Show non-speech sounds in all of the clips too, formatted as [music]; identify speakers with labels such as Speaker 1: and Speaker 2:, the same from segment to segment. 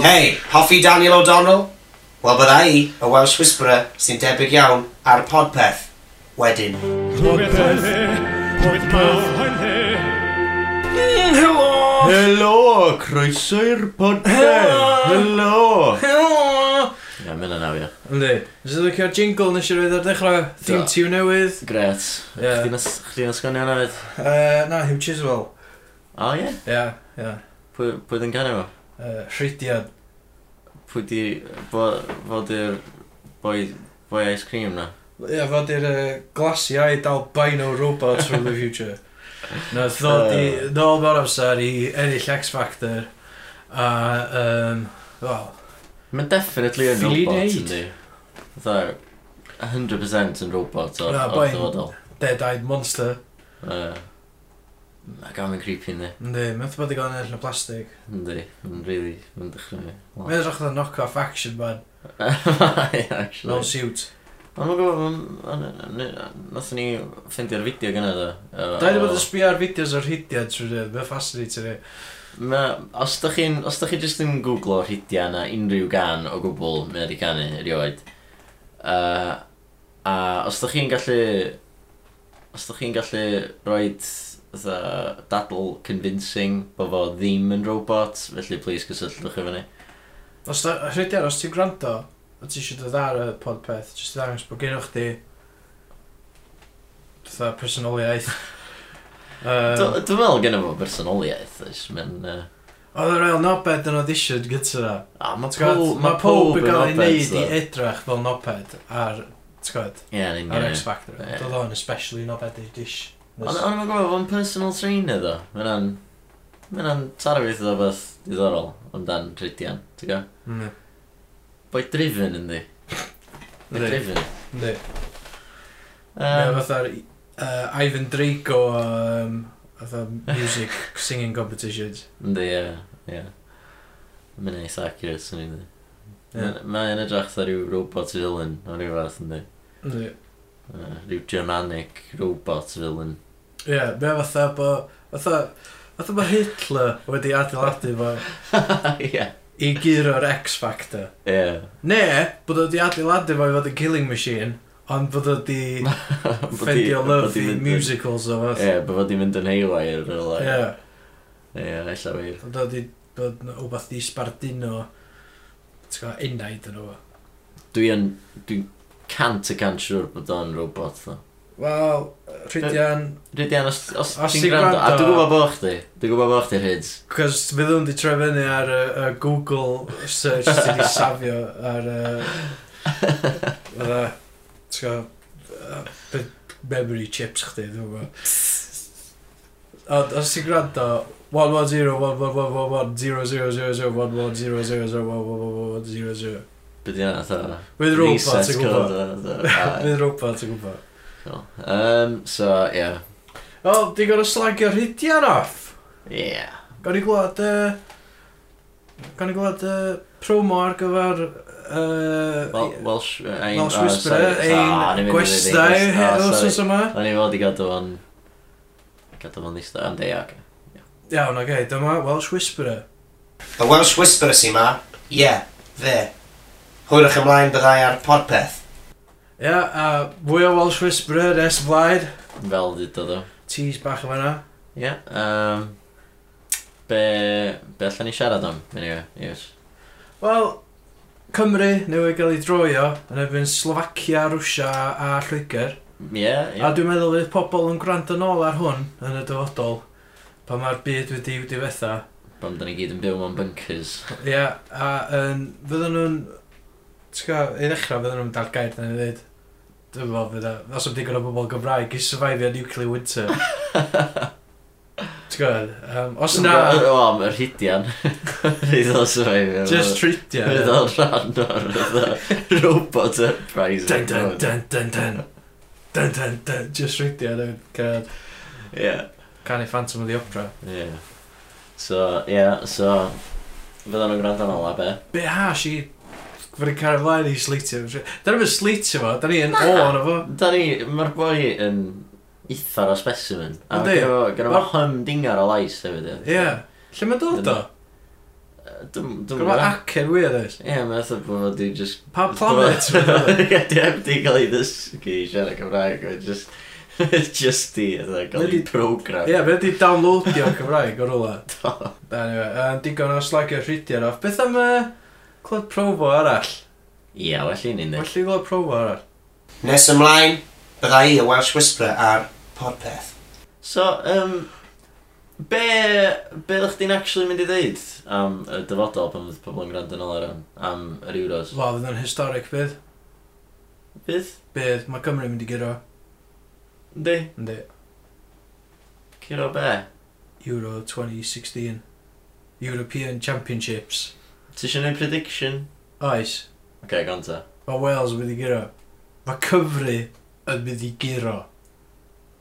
Speaker 1: Hei, hoffi Daniel O'Donnell? Wel bydda i, y Welsh Whisperer, sy'n debyg iawn ar podpeth wedyn.
Speaker 2: Helo!
Speaker 3: Helo, croeso i'r podpeth. Helo.
Speaker 2: Helo!
Speaker 4: Ie, mynd yna fi.
Speaker 2: Yndi. Nes i ddocio'r jingle nes i roed ar dechrau theme
Speaker 4: Do.
Speaker 2: tune newydd.
Speaker 4: Gret.
Speaker 2: Ie.
Speaker 4: Chdi'n ys- Chdi'n ysgwni yna fyd?
Speaker 2: Uh, na, Hugh Chiswell.
Speaker 4: O ie?
Speaker 2: Ia, ia.
Speaker 4: Pwy pwy ydyn ganu fo?
Speaker 2: Uh, Rheidiad.
Speaker 4: Pwy di... bo- Fod i'r... Boi... Boi ice cream na?
Speaker 2: Ia, fod i'r uh, glasiaid albino robots from the [laughs] future. Na, ddod i...
Speaker 4: Yy.
Speaker 2: Nôl mor amser i ennill X Factor. A, um, wel,
Speaker 4: Mae'n definitely yn
Speaker 2: Feline
Speaker 4: robot,
Speaker 2: aid.
Speaker 4: yndi. Fytha... 100% yn robot o'r
Speaker 2: Na,
Speaker 4: o'r
Speaker 2: boi.
Speaker 4: dyfodol.
Speaker 2: dead-eyed monster.
Speaker 4: Yy, Ma gam yn creepy yndi.
Speaker 2: Yndi, mae'n bod i gael ennill y plastig.
Speaker 4: Yndi. Mae'n really... Mae'n dechrau mi. [laughs] Lot.
Speaker 2: Mae'n edrych oedd knock-off action man.
Speaker 4: Ie,
Speaker 2: No
Speaker 4: actually.
Speaker 2: suit.
Speaker 4: Ond mae'n gwybod... Nathon ni ffindio'r fideo gyna do. yy,
Speaker 2: Da i
Speaker 4: o-
Speaker 2: bod yn sbio ar fideos o'r hidiad trwy dweud, mae'n fascinating ni.
Speaker 4: Ma, os da chi'n, os da chi jyst yn googlo rhidia na unrhyw gan o gwbl mae wedi canu erioed uh, a os da chi'n gallu os da chi'n gallu roed fatha dadl convincing bod fo ddim yn robot felly please cysylltwch efo ni
Speaker 2: Os da, rhidiad, os ti'n gwrando, a ti eisiau dod ar y podpeth, jyst i ddangos bod gennych chdi fatha
Speaker 4: [laughs]
Speaker 2: personoliaeth.
Speaker 4: Dw-
Speaker 2: Yym,
Speaker 4: Dwi'n meddwl gen i fo bersonoliaeth oes mae'n uh,
Speaker 2: Oedd yr ail nobed yn audition gyda na.
Speaker 4: a mae
Speaker 2: Ah, T'god,
Speaker 4: pob
Speaker 2: Mae pob yn cael ei
Speaker 4: nobeds,
Speaker 2: wneud i e-
Speaker 4: ddo.
Speaker 2: edrych fel nobed ar, t'god,
Speaker 4: Ie, yn union,
Speaker 2: ar
Speaker 4: ie.
Speaker 2: X Factor.
Speaker 4: Ie.
Speaker 2: Doedd o'n especially nobed i dish.
Speaker 4: Ond ond mae'n gwybod fo'n personal trainer ddo. Mae'n Mae'n taro fi ddo beth diddorol amdan Rydian, ti'n gwybod?
Speaker 2: Mm.
Speaker 4: Boi driven yndi. Boi
Speaker 2: Yndi.
Speaker 4: driven.
Speaker 2: Yndi. Mae
Speaker 4: Yym,
Speaker 2: o fatha'r uh, Ivan Draco um, fatha
Speaker 4: [laughs]
Speaker 2: music singing competitions.
Speaker 4: Yndi, ie, ie. Mae'n neis accurate, swn i'n dweud.
Speaker 2: Ie.
Speaker 4: Mae'n edrych dda rhyw robot villain o rhyw fath yndi.
Speaker 2: Ie,
Speaker 4: Yy, Rhyw Germanic robot villain. [laughs]
Speaker 2: yeah, mae o fatha bo... Fatha... Fatha mae Hitler wedi adeiladu fo
Speaker 4: Ie.
Speaker 2: i guro'r X-Factor.
Speaker 4: Ie.
Speaker 2: Ne, bod o wedi adeiladu fo i fod yn killing machine, ond bod o wedi
Speaker 4: [laughs] Bod hi-
Speaker 2: ffendio
Speaker 4: bod
Speaker 2: love
Speaker 4: hi'n
Speaker 2: i
Speaker 4: mynd yn-
Speaker 2: musicals o fath.
Speaker 4: Ie, bod fod i'n mynd yn haywire fel
Speaker 2: Ie,
Speaker 4: Ie, ella wir.
Speaker 2: bod o wedi bod yn wbath i sbardino ti'n gwbod, unaid yn o fo.
Speaker 4: Dwi yn... Dwi'n cant y cant siŵr bod o'n robot ddo.
Speaker 2: Wel, Rhydian,
Speaker 4: Rydian, os, os,
Speaker 2: Os
Speaker 4: ti'n
Speaker 2: ti'n
Speaker 4: gwrando... A
Speaker 2: gwrando-
Speaker 4: dwi'n gwybod bo chdi. Dwi'n gwybod bo chdi'r hyd.
Speaker 2: Cos fydd nhw'n di troi fyny ar y y Google search sydd wedi safio ar y... Fydda, ti'n gwybod, memory chips chdi, dwi'n gwybod. Ond os ti'n gwrando, 110-111-110-000-110-000-110-000-110-000
Speaker 4: Bydd yna, tha.
Speaker 2: Fydd robot yn
Speaker 4: reset
Speaker 2: gwybod.
Speaker 4: code, tha, tha.
Speaker 2: Fydd robot yn gwybod.
Speaker 4: Cool. Um, so, ie.
Speaker 2: Wel, di gorau slagio rhidian off.
Speaker 4: Ie.
Speaker 2: Gawn ni glwad... Uh, gawn ni glwad uh, promo ar gyfer... Uh,
Speaker 4: Wel- Welsh... uh, Ein,
Speaker 2: Welsh
Speaker 4: ah,
Speaker 2: Whisperer,
Speaker 4: sorry.
Speaker 2: ein
Speaker 4: Ah, o'n i'n mynd i ddeud
Speaker 2: gwestai
Speaker 4: English. Ah,
Speaker 2: wsos
Speaker 4: sorry.
Speaker 2: yma.
Speaker 4: O'n i'n fod i gadw o'n... Gadw o'n ddista. Am dea, ac...
Speaker 2: Iawn, oce, dyma Welsh Whisperer.
Speaker 1: Y Welsh Whisperer sy'n ma, ie, yeah, fe. Hwyrwch ymlaen byddai ar podpeth.
Speaker 2: Ia, a fwy o Welsh Whisperer nes flaid.
Speaker 4: Fel di dod o.
Speaker 2: Tease bach yma na.
Speaker 4: Ie. Um, be... Be allan ni siarad am? Anyway, yes.
Speaker 2: Wel, Cymru newydd gael ei droio yn erbyn Slovacia, Rwsia a Lloegr.
Speaker 4: Ie,
Speaker 2: A
Speaker 4: ie.
Speaker 2: dwi'n meddwl fydd pobl yn gwrando nôl ar hwn yn y dyfodol pan mae'r byd wedi i'w diwetha.
Speaker 4: Bam, da ni gyd yn byw mewn bunkers.
Speaker 2: Ia, a um, fydden nhw'n... Ti'n gwybod, i ddechrau fydden nhw'n dal gair na'n ei ddweud. Dwi'n meddwl fydda, os ym digon o bobl Gymraeg i survivio nuclear winter. Ti'n gwybod, um, os na,
Speaker 4: O, mae'r
Speaker 2: [laughs]
Speaker 4: hidian. Rhaid o survivor.
Speaker 2: just treatio.
Speaker 4: Fydd o'n rhan o'r fatha robot
Speaker 2: Dun,
Speaker 4: uprising.
Speaker 2: dun, dun, dun, dun. Dun, dun, dun, just treatio. Dwi'n
Speaker 4: Ie.
Speaker 2: canu Phantom of the Opera.
Speaker 4: Ie. So, ie, so... Fyddan nhw'n gwrando yn ola, be?
Speaker 2: Be hash i... Fy'n cario flaen i sleitio. Da ni'n sleitio fo, da ni yn o'n o fo.
Speaker 4: Da ni, mae'r boi yn ithar o specimen. A
Speaker 2: Yndi.
Speaker 4: gyda fo
Speaker 2: Wel-
Speaker 4: hym dingar o lais hefyd.
Speaker 2: Ie. Lle mae'n dod o?
Speaker 4: Dwi'n
Speaker 2: Gwna
Speaker 4: gwybod.
Speaker 2: acen wir ys.
Speaker 4: Ie, mae'n fatha bod fod i just...
Speaker 2: Pa planet?
Speaker 4: [laughs] Ie, di heb di gael ei ddysgu i siarad Cymraeg, mae'n [laughs] just... just di, ydw, gael ei
Speaker 2: Wedi-
Speaker 4: program. [laughs]
Speaker 2: Ie, fe di downloadio Cymraeg o'r ola.
Speaker 4: Do.
Speaker 2: Anyway, yn digon o slagio rhidiau off. Beth am uh, clod profo arall?
Speaker 4: [laughs] Ie, well i'n un
Speaker 2: Felly clod profo arall.
Speaker 1: Nes ymlaen, bydda i y Welsh Whisperer ar Podpeth.
Speaker 4: So, um, be, be ddech chi'n actually mynd i ddeud am y dyfodol pan fydd pobl yn gwrando yn ôl ar hwn, am yr Euros?
Speaker 2: Wel, fydd yn historic bydd.
Speaker 4: Bydd?
Speaker 2: Bydd, mae Cymru'n mynd i gyro.
Speaker 4: Yndi?
Speaker 2: Yndi.
Speaker 4: Ciro be?
Speaker 2: Euro 2016. European Championships.
Speaker 4: Ti eisiau gwneud prediction?
Speaker 2: Oes.
Speaker 4: Oce, okay, gonta.
Speaker 2: Mae Wales yn mynd i gyro. Mae Cymru yn mynd i gyro.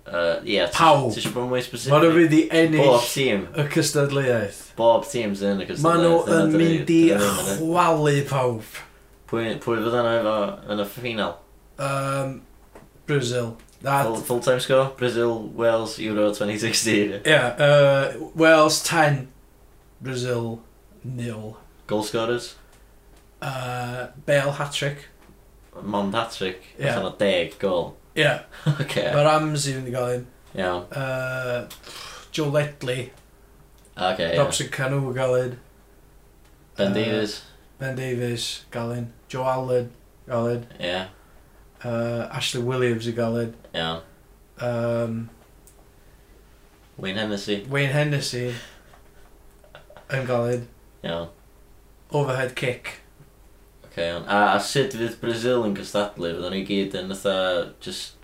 Speaker 4: Uh, yeah,
Speaker 2: Pawb.
Speaker 4: Ti eisiau bod yn mwy specific?
Speaker 2: Mae nhw'n mynd i
Speaker 4: Bob
Speaker 2: ennill
Speaker 4: tîm.
Speaker 2: y cystadleuaeth.
Speaker 4: Bob tîm's yn y cystadleuaeth.
Speaker 2: Mae nhw
Speaker 4: dyna
Speaker 2: yn
Speaker 4: dyn ni-
Speaker 2: mynd i
Speaker 4: dyna ni- dyna ni.
Speaker 2: chwalu pawb.
Speaker 4: Pwy, pwy fydd yna efo yn y ffinal?
Speaker 2: Um, Brazil. A,
Speaker 4: Full, full time score? Brazil, Wales, Euro 2016.
Speaker 2: ie, uh, Wales 10, Brazil 0.
Speaker 4: Goal scorers?
Speaker 2: Uh, Bale hat-trick.
Speaker 4: Mond hat-trick.
Speaker 2: Ie.
Speaker 4: Yeah. Fydd 10 goal. [laughs]
Speaker 2: Ie, yeah,
Speaker 4: Oce.
Speaker 2: mae Ramsey yn mynd i gael un.
Speaker 4: Iawn.
Speaker 2: Uh, Joe Ledley,
Speaker 4: Oce, ie.
Speaker 2: Robson Canu yn gael un.
Speaker 4: Ben
Speaker 2: Uh,
Speaker 4: Davies.
Speaker 2: Ben Davies, gael un. Joe Allen, gael un.
Speaker 4: Ie.
Speaker 2: Uh, Ashley Williams yn gael un.
Speaker 4: Iawn.
Speaker 2: um,
Speaker 4: Wayne Hennessy.
Speaker 2: Wayne Hennessy yn gael un
Speaker 4: Iawn.
Speaker 2: overhead kick.
Speaker 4: Oce, iawn. A, a sut fydd Brazil yn cystadlu? Fydd nhw i gyd yn ytha just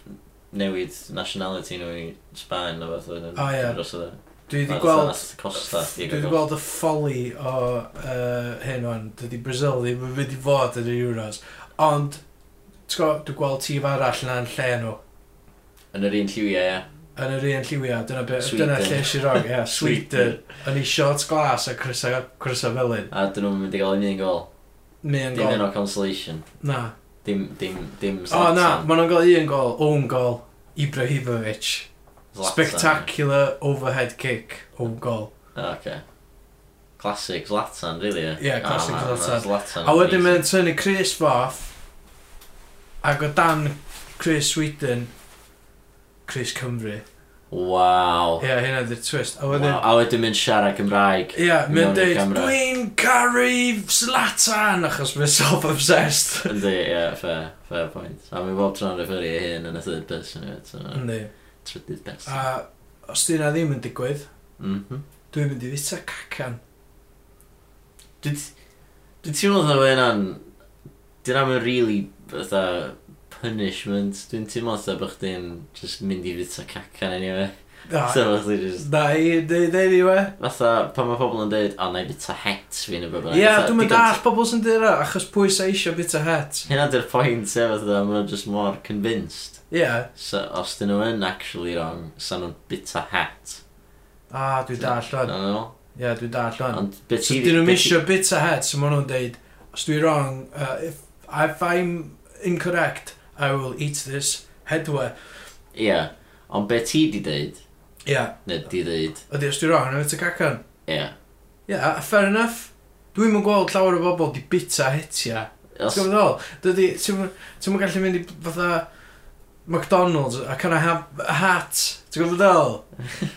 Speaker 4: newid nationality nhw i Sbaen o fath wedyn.
Speaker 2: O, ie.
Speaker 4: Dros y-
Speaker 2: Dwi wedi
Speaker 4: fatha
Speaker 2: gweld...
Speaker 4: nath Costa.
Speaker 2: Dwi wedi gweld y ffoli o uh, hyn o'n, dydy Brazil ddim yn mynd i fod yn y Euros. Ond, ti'n gwybod, dwi'n gweld tîm arall yna yn lle nhw.
Speaker 4: Yn yr un lliwiau, ie.
Speaker 2: Yn yr un lliwiau, dyna, be,
Speaker 4: Sweden.
Speaker 2: dyna lle si rog,
Speaker 4: [laughs]
Speaker 2: ie, Sweden. Yn ei shorts glas a Chrisa, Chrisa Felyn.
Speaker 4: A dyn nhw'n mynd i gael un un gol.
Speaker 2: Mi yn
Speaker 4: Dim un
Speaker 2: gol.
Speaker 4: o consolation.
Speaker 2: Na.
Speaker 4: Dim, dim, dim
Speaker 2: O na,
Speaker 4: Zlatan.
Speaker 2: maen nhw'n gael un gol, own gol, Ibrahimovic.
Speaker 4: Zlatan.
Speaker 2: Spectacular overhead kick, own goal.
Speaker 4: O, Oce. Ah, Classic Zlatan, really, ie?
Speaker 2: Ie, classic
Speaker 4: O, ma- ma-
Speaker 2: Zlatan.
Speaker 4: Zlatan.
Speaker 2: A wedyn
Speaker 4: amazing.
Speaker 2: mae'n tynnu Chris Foth ac o dan Chris Sweden Chris Cymru. Ie,
Speaker 4: Waw.
Speaker 2: yeah, hynna di'r twist. A wedyn...
Speaker 4: Waw, A wedyn mynd siarad Cymraeg.
Speaker 2: Ie, yeah,
Speaker 4: Mewn
Speaker 2: mae'n
Speaker 4: i'r
Speaker 2: dweud,
Speaker 4: camera.
Speaker 2: dwi'n caru Zlatan, achos mae'n self-obsessed.
Speaker 4: Yndi, ie, fair, fair point. A mi bob tro'n referru ei hun yn y third person yw, so
Speaker 2: Yndi. Ah.
Speaker 4: trydydd person.
Speaker 2: A os dyna ddim yn digwydd,
Speaker 4: Mhm.
Speaker 2: dwi'n mynd i fita cacan.
Speaker 4: Dwi dwi teimlo dda fe yna'n... Dyn am yn really, fatha, punishment. Dwi'n teimlo dda bych chi'n just mynd i fita cacan anyway.
Speaker 2: Na,
Speaker 4: So bych chi'n just
Speaker 2: na i dweud anyway.
Speaker 4: Fatha, pan mae pobl yn dweud, o, na i bita het fi neu beth
Speaker 2: Ie, yeah, dwi'n mynd all pobl sy'n dweud yna, achos pwy sa eisiau bita het.
Speaker 4: Hynna di'r pwynt sef, fatha, maen nhw just more convinced.
Speaker 2: Ie, yeah.
Speaker 4: So, os dyn nhw yn actually wrong, sa nhw'n bita het.
Speaker 2: a dwi'n dall
Speaker 4: Na
Speaker 2: o'n.
Speaker 4: nhw.
Speaker 2: Ie, yeah, dwi'n dall o'n.
Speaker 4: Ond, beth
Speaker 2: So dyn nhw'n misio bits ahead, so maen nhw'n deud, os dwi wrong, uh, if, if I'm incorrect, I will eat this headwear.
Speaker 4: Ie. Ond beth ti di dweud,
Speaker 2: Ie, yeah.
Speaker 4: neu di dweud,
Speaker 2: ydy, os dwi wrong, yna cacan.
Speaker 4: ie.
Speaker 2: Ie, yeah, fair enough. Dwi'n mynd gweld llawer o bobl di bita hetia.
Speaker 4: Os...
Speaker 2: Ti'n meddwl? Dydy, ti'n mynd gallu mynd i fatha McDonald's a can I have a hat? Ti'n gwybod ddol?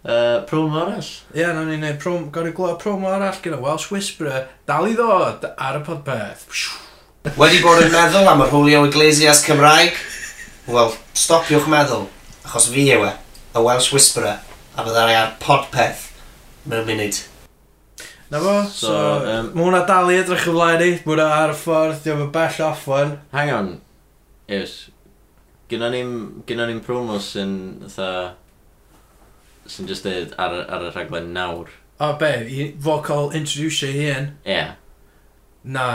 Speaker 4: Uh, Prwm arall.
Speaker 2: Ie, yeah, nawn ni'n neud prom, gorau glwyd promo arall gyda Welsh Whisperer, dal i ddod ar y podpeth.
Speaker 1: Wedi bod yn meddwl am yr Julio Iglesias Cymraeg? Wel, stopiwch meddwl, achos fi yw e, y Welsh Whisperer, a byddai ar podpeth mewn munud.
Speaker 2: Na fo, so,
Speaker 4: So,
Speaker 2: so um,
Speaker 4: yym,
Speaker 2: mae hwnna dal i edrych yn flaen i, mae hwnna ar y ffordd, diolch yn bell off o'n.
Speaker 4: Hang on. Ews. Gynna ni'n gynna ni'n promo sy'n, fatha, sy'n just dweud ar, y- ar y rhaglen nawr.
Speaker 2: O be, i- fo cael introduce ei hun?
Speaker 4: Ie. Yeah.
Speaker 2: Na.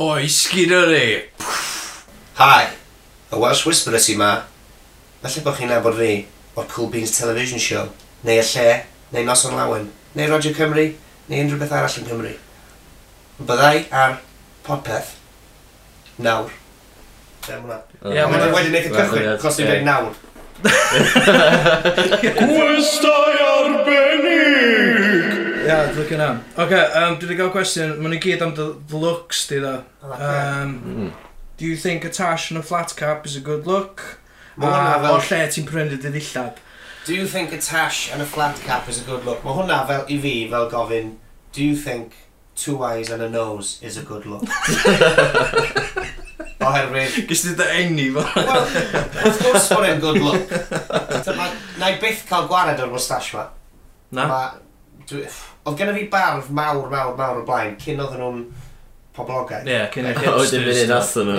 Speaker 2: Oes, gyda ni!
Speaker 1: Hi, y Welsh Whisperer ti ma. Falle bod chi'n nabod fi o'r Cool Beans Television Show, neu y lle, neu Noson Lawen, neu Radio Cymru, neu unrhyw beth arall yn Cymru. Byddai ar podpeth nawr. Ie, ma' hwnna.
Speaker 2: Ie,
Speaker 1: Ond
Speaker 2: ma'
Speaker 1: Wedi wneud y cychwyn, achos dwi'n dweud nawr.
Speaker 3: Gwestai arbennig!
Speaker 2: Ie, Yeah, look at that. Oce, um, dwi wedi gael cwestiwn. Mae'n i gyd am dy dy looks, di dda. Um,
Speaker 3: Mm.
Speaker 2: do you think a tash and a flat cap is a good look?
Speaker 1: Mae hwnna
Speaker 2: A o
Speaker 1: fel...
Speaker 2: lle ti'n prynu dy ddillad?
Speaker 1: Do you think a tash and a flat cap is a good look? Mae hwnna fel i fi fel gofyn, do you think two eyes and a nose is a good look? Oherwydd,
Speaker 2: Gys ti dy enni fel?
Speaker 1: Wel, wrth gwrs bod e'n good
Speaker 2: [laughs]
Speaker 1: look. Dyma, na i byth cael gwared o'r mustache ma.
Speaker 2: Na.
Speaker 1: Ma- dwi- Oedd genna fi barf mawr, mawr, mawr o blaen, cyn oedden nhw'n poblogaidd.
Speaker 2: Ie, cyn i'r
Speaker 4: O, dim
Speaker 2: hipsters.
Speaker 4: munud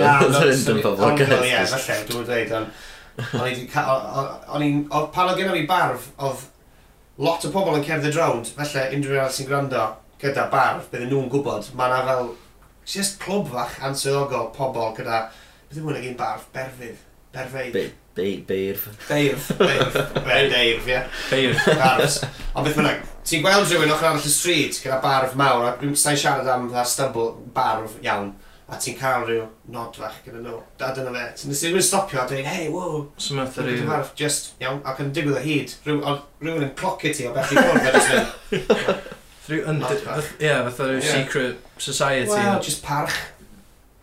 Speaker 2: na.
Speaker 4: atho nhw.
Speaker 1: Na,
Speaker 4: Oedd
Speaker 1: no,
Speaker 4: yr
Speaker 1: sori,
Speaker 4: undyn
Speaker 1: ond,
Speaker 4: pobl
Speaker 1: Ie, falle, dwi'n bod dweud, ond... O'n i 'di ca- o- o- o'n i'n... Oedd pan oedd genna fi barf, oedd lot o pobl yn cerdded rownd, felly unrhyw un arall sy'n gwrando gyda barf, bydden nhw'n gwybod, mae yna fel just clwb fach ansoddogol pobl gyda... Bydden nhw'n egin barf, berfydd, berfeidd. [laughs]
Speaker 4: Beirf.
Speaker 1: Deirf, deirf, fe deirf, ie.
Speaker 2: Beir.
Speaker 1: Barfs. Ond beth bynnag, ti'n gweld rhywun ochr arall y stryd gyda barf mawr, a dwi'n sain siarad am dda stubble barf iawn, a ti'n cael rhyw nod fach gyda nhw. Da dyna fe. Ti'n nes i rhywun stopio a dweud, hei, wow,
Speaker 2: So mae'n
Speaker 1: dwi'n
Speaker 2: rhyw...
Speaker 1: barf, just, iawn, ac yn digwydd o hyd, rhyw- oedd rhywun yn clocio ti o beth i ffwrdd, a jyst yn,
Speaker 2: Rhyw under...
Speaker 1: Not bad.
Speaker 2: Ie, fatha rhyw
Speaker 1: Ie.
Speaker 2: secret
Speaker 1: wow,
Speaker 2: society.
Speaker 1: just parch,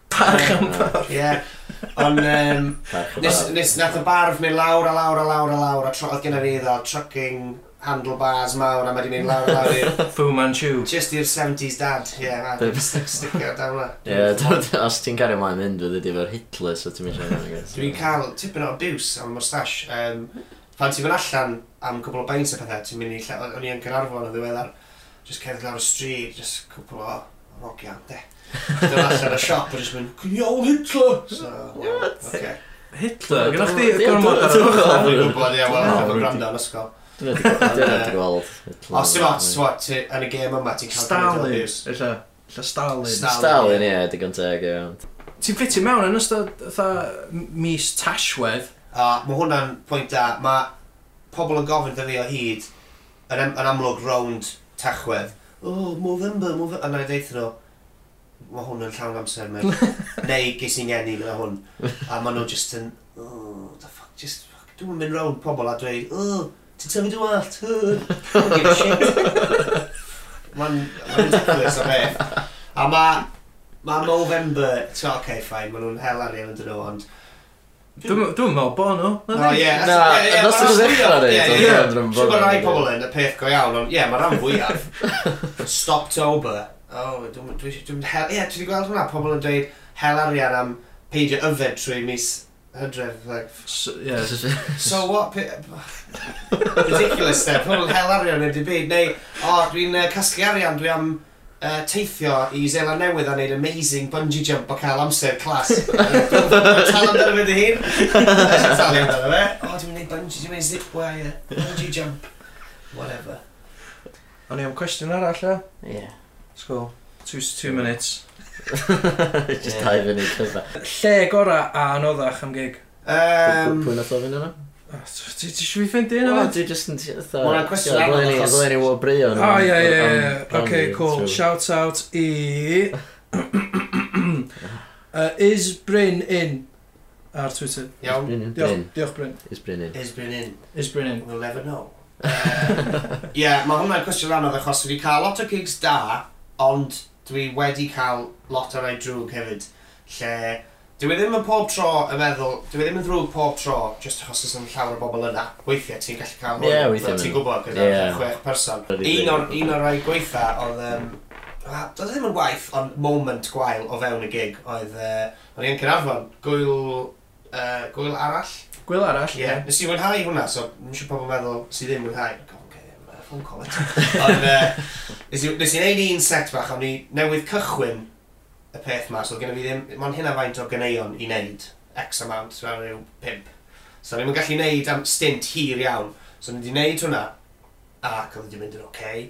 Speaker 2: Parch am
Speaker 1: ie. Ond, um, Nes, nes nath y barf mynd lawr a lawr a lawr a lawr a tro, oedd gen i fi ddod trucking handlebars mawr a mae di mynd lawr a lawr i'r
Speaker 2: Fu Manchu.
Speaker 1: Just i'r 70s dad, ie, yeah,
Speaker 4: Dyb-
Speaker 1: sticker down na.
Speaker 4: Ie, [laughs] d- os ti'n cario mlaen mynd, fydd ydi fo'r Hitler, so ti'n mynd
Speaker 1: Dwi'n
Speaker 4: siarad.
Speaker 1: cael tipyn o abuse am mustache. Um, pan ti'n mynd allan am cwbl o baint o pethau, ti'n mynd i lle, o'n i yn Gynarfon yn ddiweddar, just cerdd lawr y stryd, just cwbl o rogian, de. Dwi'n allan y siop a just mynd, can you all Hitler? So, well, okay.
Speaker 2: Hitler. Gyda chdi
Speaker 4: Dwi'n-
Speaker 2: gormod ar
Speaker 4: dwi'n-
Speaker 2: yr ochr.
Speaker 1: Dwi'n gwybod, ie, wel,
Speaker 4: Dwi'n-
Speaker 1: efo gwrando yn ysgol.
Speaker 4: Dwi'n wedi gweld. Hitler.
Speaker 1: Os ti'n lot, swat, yn y gêm yma, ti'n cael gymaint o
Speaker 2: Stalin.
Speaker 1: abuse.
Speaker 2: Ella. Ella Stalin.
Speaker 1: Sta-
Speaker 4: Stalin, ie, digon teg, iawn.
Speaker 2: Ti'n ffitio mewn yn ystod fatha mis Tashwedd.
Speaker 1: A mae hwnna'n pwynt da. Mae pobl yn gofyn dy fi o hyd yn, am- yn amlwg rownd tachwedd. O, oh, Movember, Movember. A na i deithio nhw, mae hwn yn llawn amser mewn. Neu ges i'n ngeni gyda hwn. A maen nhw just yn, o, oh, the fuck, just, fuck. Dwi'n mynd rownd pobl a dweud, o, oh, ti'n tyfu dwi'n allt. Mae'n ma ridiculous o beth. A mae, mae Movember, ti'n oce, okay, fine, maen nhw'n hel arian yn dyn nhw, ond
Speaker 2: Dwi'n dwi'n meddwl bod nhw.
Speaker 1: O ie,
Speaker 4: Na, nos ydw i'n ddechrau neud,
Speaker 1: Ie,
Speaker 4: ond
Speaker 1: ie,
Speaker 4: dwi'n meddwl
Speaker 1: ie.
Speaker 4: bod
Speaker 1: Siwr bod
Speaker 4: yn
Speaker 1: rai
Speaker 4: neud.
Speaker 1: pobl yn y peth go iawn, ond ie, mae rhan fwyaf. [laughs] Stoptober. O, Oh, dwi'n... Ie, dwi'n wedi gweld hwnna, pobl yn dweud hel arian am peidio yfed trwy mis hydref. Like,
Speaker 2: S- Ie.
Speaker 1: so what? Pe- Ridiculous there, pobl yn hel arian yn y byd. Neu, o, dwi'n uh, casglu arian, dwi am uh, teithio i Zela Newydd a wneud amazing bungee jump o cael amser clas. Tal amdano fe dy hun. Eisiau talu amdano fe. O, dwi'n gwneud bungee, dwi'n gwneud zip wire, bungee jump. Whatever.
Speaker 2: O'n i am cwestiwn arall e?
Speaker 4: [laughs] Ie.
Speaker 2: Sgol. Two, two minutes.
Speaker 4: Just dau fyny cyfa.
Speaker 2: Lle gorau a anoddach am gig?
Speaker 1: Um,
Speaker 4: Pwy nath o fynd yna?
Speaker 2: O, t- Ti ti eisiau fi ffindi un
Speaker 4: Wel,
Speaker 2: o'n
Speaker 4: dwi just yn eitha...
Speaker 1: Ma' 'na cwestiwn arall, achos-
Speaker 4: Dwi'n ei wneud brio.
Speaker 2: O, ie, ie, ie. Ok, cool. Shout out i... [coughs] Uh, is Bryn in? Ar Twitter.
Speaker 1: iawn.
Speaker 4: Bryn.
Speaker 2: Diolch, diolch Bryn.
Speaker 4: Is Bryn in.
Speaker 1: Is been in.
Speaker 2: Is Bryn in?
Speaker 1: We'll never know. Uh, Ie, yeah, mae hwnna'n cwestiwn anodd achos dwi wedi cael lot o gigs da, ond dwi wedi cael lot o rai drwg hefyd. Lle, dwi ddim yn pob tro yn meddwl, dwi ddim yn ddrwg pob tro, just achos oes yn llawer o bobl yna. Weithiau ti'n gallu cael hwn,
Speaker 4: Ie, weithiau
Speaker 1: fel ti'n
Speaker 4: ma'n-
Speaker 1: gwybod, gyda
Speaker 4: Ie.
Speaker 1: chwech person.
Speaker 4: Really
Speaker 1: Un o'r,
Speaker 4: big.
Speaker 1: un o'r rai gweitha oedd, um, doedd e ddim yn waith, ond moment gwael o fewn y gig oedd, uh, o'n i'n Cynarfon, gwyl, uh, gwyl arall,
Speaker 2: Gwyl arall?
Speaker 1: Ie, yeah. nes i mwynhau hwnna, so mae'n siŵr pobl meddwl sydd ddim mwynhau. Gofyn, okay, mae ffôn call eto. Ond uh, nes i nes i neud un set bach, ond ni newydd cychwyn y peth ma, so gynnu fi ddim, mae'n hynna faint o ganeion i neud, X amount, fel rhyw pimp. So ni'n gallu neud am stint hir iawn. So ni wedi neud hwnna, ac oedd wedi mynd yn oce. Okay.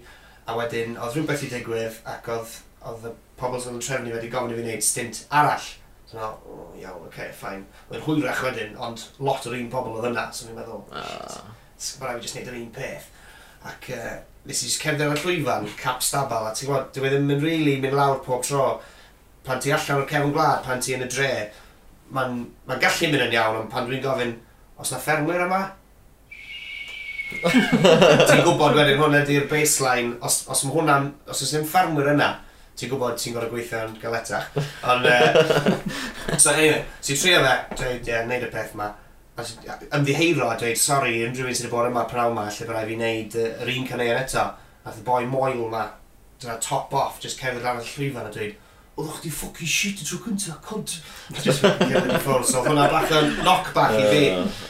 Speaker 1: A wedyn, oedd rhywbeth i digwydd, ac oedd, oedd y pobl sydd yn trefnu wedi gofyn i fi wneud stint arall. So na, o, iawn, oce, okay, ffain. Mae'n hwyrach wedyn, ond lot o'r un pobl oedd yna, so ni'n meddwl, Mae'n rhaid i jyst neud yr un peth. Ac uh, nes i jyst cerdded ar y llwyfan, cap stabal, a ti'n gwybod, dwi ddim yn rili really mynd lawr pob tro. Pan ti allan o'r cefn gwlad, pan ti yn y dre, mae'n ma gallu mynd yn iawn, ond pan dwi'n gofyn, os na ffermwyr yma, ti'n gwybod wedyn hwnna di'r baseline, os, os mae hwnna'n, os oes ddim ffarmwyr yna, ti'n gwybod ti'n gorau gweithio'n galetach. Ond, uh, so anyway, ti'n trio fe, dweud, ie, yeah, neud y peth ma. A s- a- Ymddiheuro a dweud, sori, unrhyw un sydd wedi bod yma prawn ma, lle byddai fi wneud yy, yr un cynnig eto. Nath y boi moel ma, dyna top off, just cerdded lan y llwyfan a dweud, Oeddech chdi ffocin shit y tro cynta, [laughs] cunt. Just cerdded i ffwrdd, so oedd hwnna bach yn knock back i fi.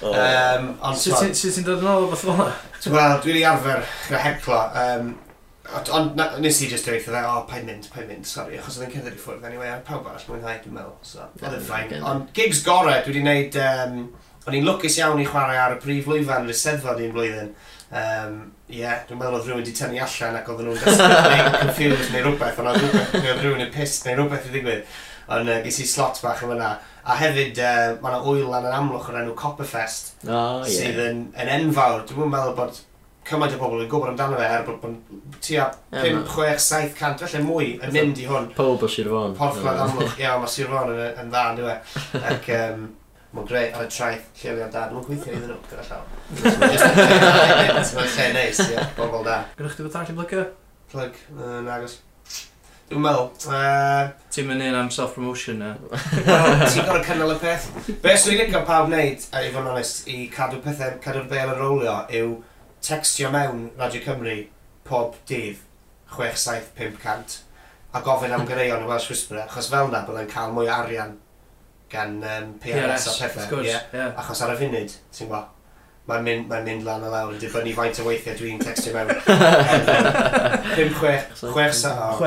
Speaker 4: Oh,
Speaker 1: Um, ond
Speaker 2: Sut
Speaker 1: t'mod-
Speaker 2: ti- sut ti'n dod yn ôl o beth fel yna?
Speaker 1: Ti'n gweld, dwi wedi arfer gyda heclo. Um, ond- ond na- nes i just dweud wrtho fe, o, paid mynd, paid mynd, sori, achos oedd yn cerdded i ffwrdd, anyway, a pawb arall mwynhau, dwi'n meddwl, so, oedd yn
Speaker 4: Yeah,
Speaker 1: ffain.
Speaker 4: yeah.
Speaker 1: Ond gigs gorau, dwi wedi wneud, um, o'n i'n lwcus iawn i chwarae ar y prif lwyfan yr Eisteddfod un blwyddyn. Um, Ie, yeah, dwi'n meddwl oedd rhywun wedi tynnu allan ac oedden nhw'n gasglu confused neu rhywbeth, ond oedd rhywbeth- neu oedd rhywun yn pissed neu rhywbeth i ddigwydd. Ond uh, ges i slot bach yn fyna. A hefyd, uh, mae yna wyl lan yn amlwch o'r enw Copperfest,
Speaker 4: O,
Speaker 1: sydd
Speaker 4: ie.
Speaker 1: yn, yn enfawr. Dwi'n meddwl bod cymaint o bobl yn gwybod amdano fe er bod bod tua
Speaker 4: Ie,
Speaker 1: 5,
Speaker 4: ma'-
Speaker 1: 6, 7 cant, felly mwy yn mynd i hwn.
Speaker 4: Pob o Sir Fôn.
Speaker 1: Porthladd amlwch, iawn, mae Sir Fon yn, yn dda, dwi'n we. Ac um, mae'n greu ar y traeth lleoliad da, dwi'n gweithio iddyn nhw gyda llaw. Jyst yn lle da hefyd, Mae'n lle neis, ie, bobl da.
Speaker 2: Gwneud chdi bod arall i blygio?
Speaker 1: Plug, yn agos. Dwi'n meddwl, uh,
Speaker 5: Ti'n mynd un am self-promotion na.
Speaker 1: Ti'n gorau cynnal y peth. Be sy'n licio pawb wneud, uh, a i fod yn onest, i cadw pethau, cadw'r bel yn rolio, yw textio mewn Radio Cymru pob dydd 6-7-500 a gofyn am gyreion y Welsh Whisperer, achos fel na byddai'n cael mwy o arian gan um, PRS a
Speaker 5: wrth
Speaker 1: pethau.
Speaker 5: gwrs,
Speaker 1: ie. [laughs]
Speaker 5: ie.
Speaker 1: Achos ar y funud, ti'n gweld, mae'n mynd, mae'n mynd lan y lawr yn dibynnu faint o weithiau dwi'n textio mewn. 5-6-500.
Speaker 2: 6-7-500?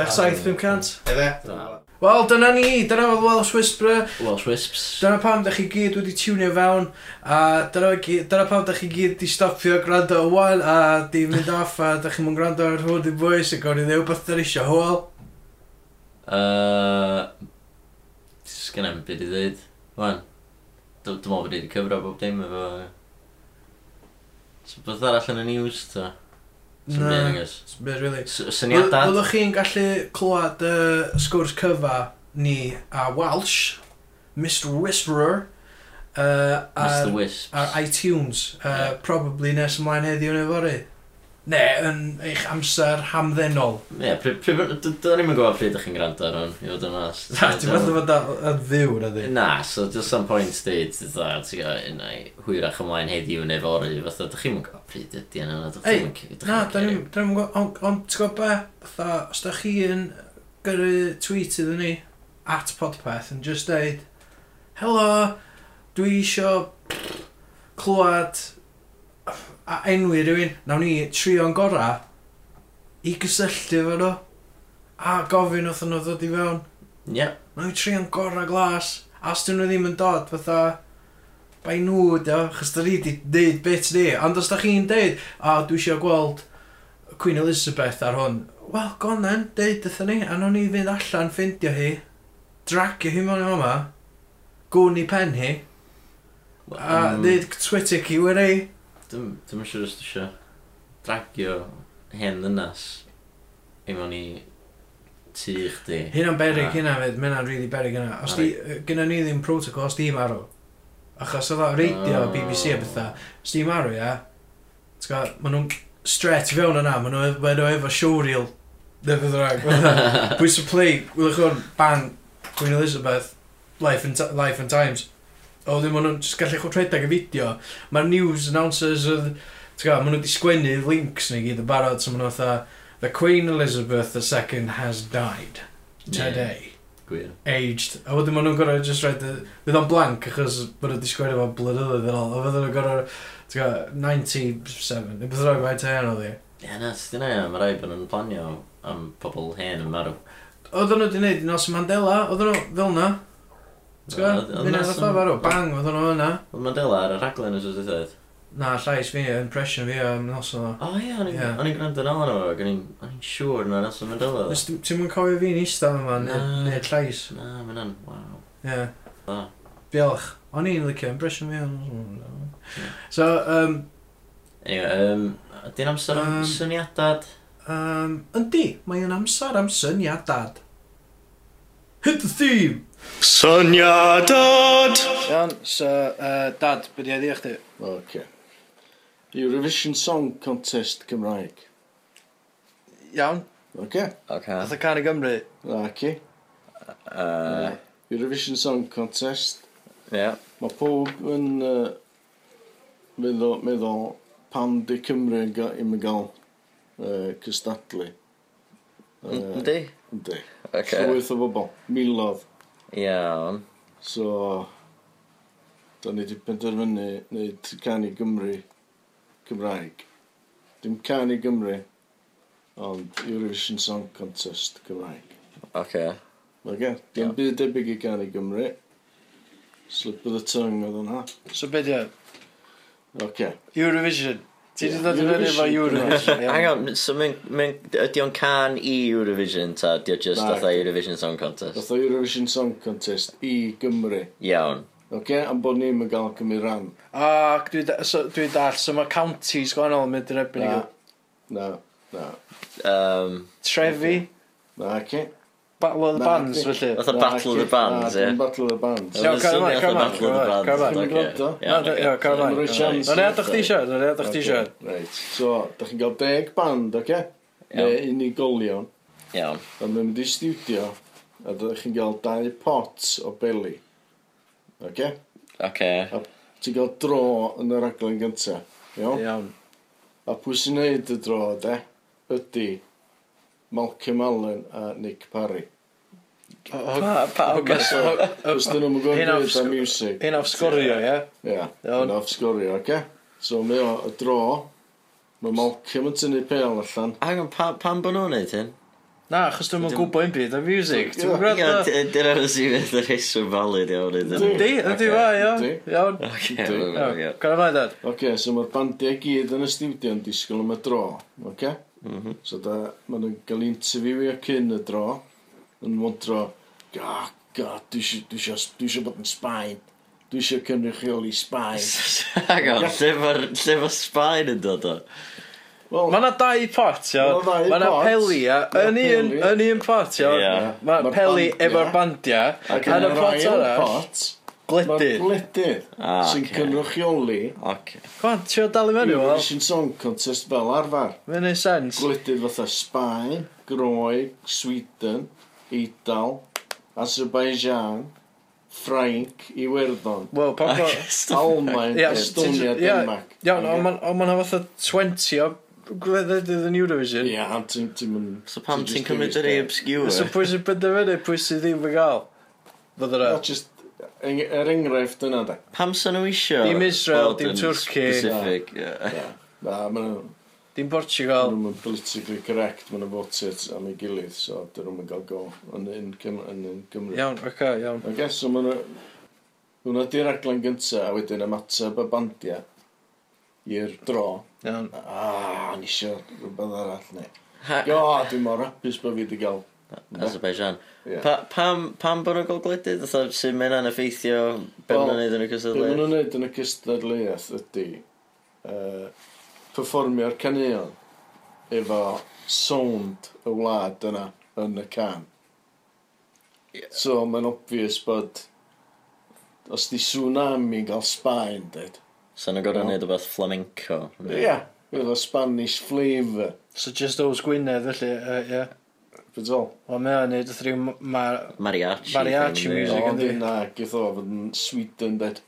Speaker 1: Efe?
Speaker 4: Na.
Speaker 2: Wel, dyna ni, dyna fod Welsh Whisperer.
Speaker 4: Welsh Wisps.
Speaker 2: Dyna pam da chi gyd wedi tiwnio fewn a dyna, fe gy- dyna pam da chi gyd di stopio gwrando o wan a di mynd off a da chi mwyn gwrando ar hwn di bwys a gawn i ddewb beth da eisiau hwyl
Speaker 4: Uh, Sgan am byd i ddweud. Wan. Dwi'n meddwl bod i wedi cyfro bob dim efo... So beth arall yn y news, ta? Sa'm byd, I guess.
Speaker 2: Beth really
Speaker 4: S- Syniadad?
Speaker 2: Byddwch chi'n gallu clywed y sgwrs cyfa ni a Welsh Mr Whisperer uh,
Speaker 4: Mr
Speaker 2: ar, ar
Speaker 4: Wisps.
Speaker 2: iTunes uh,
Speaker 4: Ie.
Speaker 2: probably nes ymlaen heddiw neu fory Ne, yn eich amser hamddenol
Speaker 4: Ie, pryd... pryd- d- Do'n i'm yn gwybod pryd ydych chi'n gwrando ar hwn, i fod yn mas.
Speaker 2: Ti'n meddwl fod yn ddiw na di
Speaker 4: Na, so just some point stage, it's that, ti'n gael unai hwyrach ymlaen heddiw neu fory, fatha, dych chi'n gwybod pryd ydy yna, na, dych
Speaker 2: Ei,
Speaker 4: chi'n gwybod.
Speaker 2: Na, da ni'n da ni'n gwybod, ond on, ti'n gwybod be, fatha, os da chi yn gyrru tweet iddyn ni, at podpeth, yn just deud, helo, dwi isio clywed a enwi rhywun, nawn ni trio'n gora i gysylltu efo nhw, a gofyn wrth nhw ddod i fewn.
Speaker 4: Ie,
Speaker 2: Nawn ni trio'n gora glas, a os dyn nhw ddim yn dod, fatha, bai nhw, dio, chos da ni di deud bit ni, ond os da chi'n deud, a dwi eisiau gweld Queen Elizabeth ar hwn, wel, go on then, deud ydyn ni, a nawn ni fynd allan ffindio hi, dragio hi mewn i fama, gwn i pen hi, a
Speaker 4: Yym,
Speaker 2: deud Twitter ki wedi,
Speaker 4: Dwi'n dwi'n mm, yn siŵr os dwi eisiau dragio hen ddynas i mewn i tŷ chdi.
Speaker 2: hyn am berig
Speaker 4: Na.
Speaker 2: hynna fyd, mae hynna'n really berig hynna, os di, gyda ni ddim protocol, os di marw, achos oedd o radio,
Speaker 4: Ah.
Speaker 2: BBC a bethau, os di marw, ia, ti'n gwbod, maen nhw'n stret fewn yna, maen nhw maen nhw efo showreel, neu beth rhaid, [laughs] Pwys y play, wylwch hwn, bang, Queen Elizabeth, Life and, Ti- Life and Times. O, ddim ond nhw'n jyst gallu chwyd rhedeg y fideo. Mae'r news announcers oedd, ti'n gwybod, maen nhw wedi sgwennu links neu gyd y barod, so maen nhw fatha, The Queen Elizabeth II has died today.
Speaker 4: Gwir.
Speaker 2: Aged. A wedyn maen nhw'n gorau just read y... Fydd o'n blank achos maen nhw wedi sgwennu fo blynyddoedd yn ôl. A fydden nhw'n gorau, ti'n gwybod, 97. Neu beth rhaid mae'n teimlo oedd hi.
Speaker 4: Ie, na, sydd yna, mae rai bod nhw'n planio am pobl hen yn marw.
Speaker 2: Oedden nhw wedi gwneud Nos Mandela, oedden nhw fel na. Ti'n gwybod?
Speaker 4: Oedd- oedd
Speaker 2: Mynd
Speaker 4: na
Speaker 2: ar y
Speaker 4: some-
Speaker 2: ffordd farw, bang, oedd hwnnw yna.
Speaker 4: Oedd Mandela ar y raglen os ydych chi'n
Speaker 2: Na, llais fi, impression fi am noson o.
Speaker 4: O ie, o'n i'n
Speaker 2: Ie.
Speaker 4: yeah. gwrando yn alon o'n o'n i'n- o'n i'n siŵr na Nelson Mandela.
Speaker 2: Nes ti- Ti'm yn cofio fi'n eistedd yma,
Speaker 4: Na.
Speaker 2: neu llais.
Speaker 4: Na, mae'n an, waw.
Speaker 2: Ie.
Speaker 4: Da.
Speaker 2: Diolch. O'n i'n licio impression fi am
Speaker 4: Hmm.
Speaker 2: noson yna. So, um,
Speaker 4: Anyway, um, ydy'n amser am
Speaker 2: Yym. syniadad?
Speaker 4: syniadad?
Speaker 2: um, yndi, mae'n amser am syniadad. Hit the theme!
Speaker 3: Syniadad!
Speaker 2: Iawn, so, uh, dad, beth i edrych chdi?
Speaker 3: Oce.
Speaker 6: Eurovision Song Contest Cymraeg.
Speaker 2: Iawn,
Speaker 6: Oce?
Speaker 4: Oce.
Speaker 2: fatha can i Gymru.
Speaker 6: Ac i.
Speaker 4: Yy,
Speaker 6: Eurovision Song Contest.
Speaker 4: Ie.
Speaker 6: Mae pob yn uh, meddwl, meddwl pan di Cymru yn ga- ddim yn gael uh, cystadlu. Yy,
Speaker 4: Yndi?
Speaker 6: Yndi.
Speaker 4: Oce.
Speaker 6: Llwyth o bobl. Milodd.
Speaker 4: Iawn.
Speaker 6: So, da ni wedi penderfynu wneud can i Gymru Cymraeg. Dim can i Gymru, ond Eurovision Song Contest Cymraeg.
Speaker 4: Oce.
Speaker 6: Oce?
Speaker 4: Iawn.
Speaker 6: Dim byd debyg i can i Gymru. Slip of the tongue oedd hwnna.
Speaker 2: So be di o?
Speaker 6: Oce.
Speaker 2: Eurovision. Ti
Speaker 6: Ie.
Speaker 2: di dod i fyny efo Eurovision. iawn?
Speaker 4: Hang on, so mae'n... mae'n- Ydi o'n can i Eurovision, ta? Ydi o just
Speaker 6: Na.
Speaker 4: fatha Eurovision Song Contest?
Speaker 6: Dath o Eurovision Song Contest i Gymru.
Speaker 4: Iawn.
Speaker 6: Oce? Am bod ni'n mynd gael cymryd ran.
Speaker 2: Ac dwi, da, so, dwi dall, so mae counties gwahanol yn mynd yn erbyn i
Speaker 6: Na.
Speaker 2: gael.
Speaker 6: Na. Na.
Speaker 4: Um,
Speaker 2: Trefi,
Speaker 6: Na, oce?
Speaker 2: Battle of the
Speaker 6: Na,
Speaker 2: Bands,
Speaker 6: dwi-
Speaker 2: felly.
Speaker 4: fatha Battle of the Bands, ie?
Speaker 6: Na, dim Battle of the Bands.
Speaker 2: Iawn, cario mlaen, cario mlaen,
Speaker 4: Battle of the
Speaker 2: cario mlaen,
Speaker 4: Bands,
Speaker 6: cario mlaen.
Speaker 4: oce.
Speaker 2: Na,
Speaker 4: Iawn,
Speaker 2: da-
Speaker 4: oce.
Speaker 2: Ie, cael
Speaker 6: Dwi'n rhoi
Speaker 2: ymlaen.
Speaker 6: chance.
Speaker 2: Dwi'n edrych chdi siarad, dwi'n edrych chdi
Speaker 6: Ocê,
Speaker 2: siarad.
Speaker 6: Reit. So, da chi'n cael 10 band, oce? Neu unigolion.
Speaker 4: Iawn.
Speaker 6: A mae'n mynd i studio. A da chi'n cael 2 pot o beli. Oce?
Speaker 4: Oce.
Speaker 6: Ti'n cael dro yn yr aglen gynta. Iawn?
Speaker 2: Iawn.
Speaker 6: A pwy sy'n neud y dro, de? Ydy Malcolm Allen a Nick Parry.
Speaker 4: Pa, pa,
Speaker 6: Os dyn nhw'n gwybod
Speaker 2: Hyn off
Speaker 6: beth am
Speaker 2: sg-
Speaker 6: music.
Speaker 2: Un o'r sgorio, ie?
Speaker 6: Ia,
Speaker 2: Iawn.
Speaker 6: yn off sgorio, oce? So, mae o y dro. Mae Malcolm yn tynnu pel allan.
Speaker 4: Hang on, pa, pam bod nhw'n neud hyn?
Speaker 2: Na, achos dwi'n mwyn gwybod un byd, y music. Dwi'n
Speaker 6: Ie.
Speaker 2: gwybod...
Speaker 4: Dyna yn sydd yn reswm valid iawn iddyn nhw.
Speaker 2: Di, ydi fa, iawn.
Speaker 6: Yndi.
Speaker 2: Iawn.
Speaker 4: Oce,
Speaker 6: Yndi.
Speaker 4: iawn,
Speaker 2: Iawn,
Speaker 4: iawn.
Speaker 2: Cael ymlaen, dad.
Speaker 6: Oce, okay, so mae'r bandiau i gyd yn y studio yn disgwyl am y dro, oce? Okay?
Speaker 4: Mhm.
Speaker 6: So da, maen nhw'n cael interviewio cyn y dro, yn mwndro, oh, god, dwi isio- dwi isio dwi isio bod yn Sbaen, dwi isio cynrychioli Sbaen.
Speaker 4: Hang on, lle ma'r lle ma Sbaen yn dod o?
Speaker 6: Wel,
Speaker 2: Mae yna dau pot, iawn.
Speaker 6: Ma' 'na dau
Speaker 2: Mae yna
Speaker 6: pot.
Speaker 2: peli, ia.
Speaker 6: Ma'
Speaker 2: Yn un,
Speaker 6: peli.
Speaker 2: yn un pot,
Speaker 4: Ie.
Speaker 2: iawn. Mae
Speaker 6: Ma'r
Speaker 2: peli
Speaker 6: bandia.
Speaker 2: efo'r bandia. A
Speaker 6: ac yn
Speaker 2: yn y
Speaker 6: yr
Speaker 2: pot
Speaker 6: ail
Speaker 2: arall,
Speaker 6: pot, mae'r
Speaker 2: gledydd.
Speaker 6: gledydd
Speaker 4: Ah,
Speaker 6: sy'n
Speaker 4: ocê.
Speaker 6: cynrychioli
Speaker 4: Oce.
Speaker 2: Gwan, ti'n dal i mewn, wel.
Speaker 6: Eurovision Song Contest fel arfer.
Speaker 2: Mae'n ei sens.
Speaker 6: Gwledydd fatha Sbaen, Groeg, Sweden, Eidal, Azerbaijan, Ffrainc, Iwerddon,
Speaker 2: Wel, pa po...
Speaker 6: Almain,
Speaker 2: Ie,
Speaker 6: Estonia,
Speaker 2: ti'n- ie,
Speaker 6: Denmark.
Speaker 2: Iawn, ond ma'n- ond mae'n fatha 20 o gleddydd yn Eurovision.
Speaker 6: Ie, ond ti'n... ti'n mynd-
Speaker 4: So pam
Speaker 6: just
Speaker 4: ti'n cymryd yr ei
Speaker 6: dewis
Speaker 2: So
Speaker 4: obscure?
Speaker 2: pwy sy'n penderfynu, pwy sy'n ddim yn gael? Fydd
Speaker 6: da.
Speaker 2: yna.
Speaker 6: Not just... eng- Er enghraifft yna, da.
Speaker 4: Pam sy'n nhw isio?
Speaker 2: Dim Israel,
Speaker 4: bod
Speaker 2: dim
Speaker 4: yn
Speaker 2: Twrci.
Speaker 4: Specific, ie.
Speaker 6: Na, maen nhw...
Speaker 2: Dim Portugal.
Speaker 6: Maen nhw'n politically correct, maen nhw'n voted am ei gilydd, so dyn nhw'n gael go yn yn Cym- yn yn Gymru.
Speaker 2: Iawn, oce, iawn.
Speaker 6: I guess, so maen nhw... Hwna di'r aglen gynta, a wedyn ymateb y bandia i'r dro.
Speaker 2: Iawn.
Speaker 6: A, o'n isio rhywbeth arall, ne.
Speaker 4: Ha-
Speaker 6: Go, dwi'n mor hapus bod fi wedi gael.
Speaker 4: Azerbaijan.
Speaker 6: Ie.
Speaker 4: Pa- Pam, pam bod nhw'n gogledydd? Fatha, sy'n mynd yn effeithio be
Speaker 6: Wel,
Speaker 4: maen nhw'n neud yn y
Speaker 6: Be maen
Speaker 4: cysylltu?
Speaker 6: nhw'n neud yn y cystadleuaeth ydy uh, performio'r caneuon efo sound y wlad yna yn y can.
Speaker 4: Ie.
Speaker 6: So mae'n obvious bod os di tsunami gael Sbaen, dweud.
Speaker 4: So nhw'n gorau neud o beth flamenco.
Speaker 6: Ie, yeah, efo Spanish flavour.
Speaker 2: So just those Gwynedd, felly, yy, ie.
Speaker 6: Fyd ol.
Speaker 2: Wel, mae o'n neud ythryw ma...
Speaker 4: Mariachi.
Speaker 2: Mariachi
Speaker 4: thing, ie.
Speaker 2: music.
Speaker 6: Ond
Speaker 2: yndi.
Speaker 6: un na, gyth o fod yn Sweden, dweud.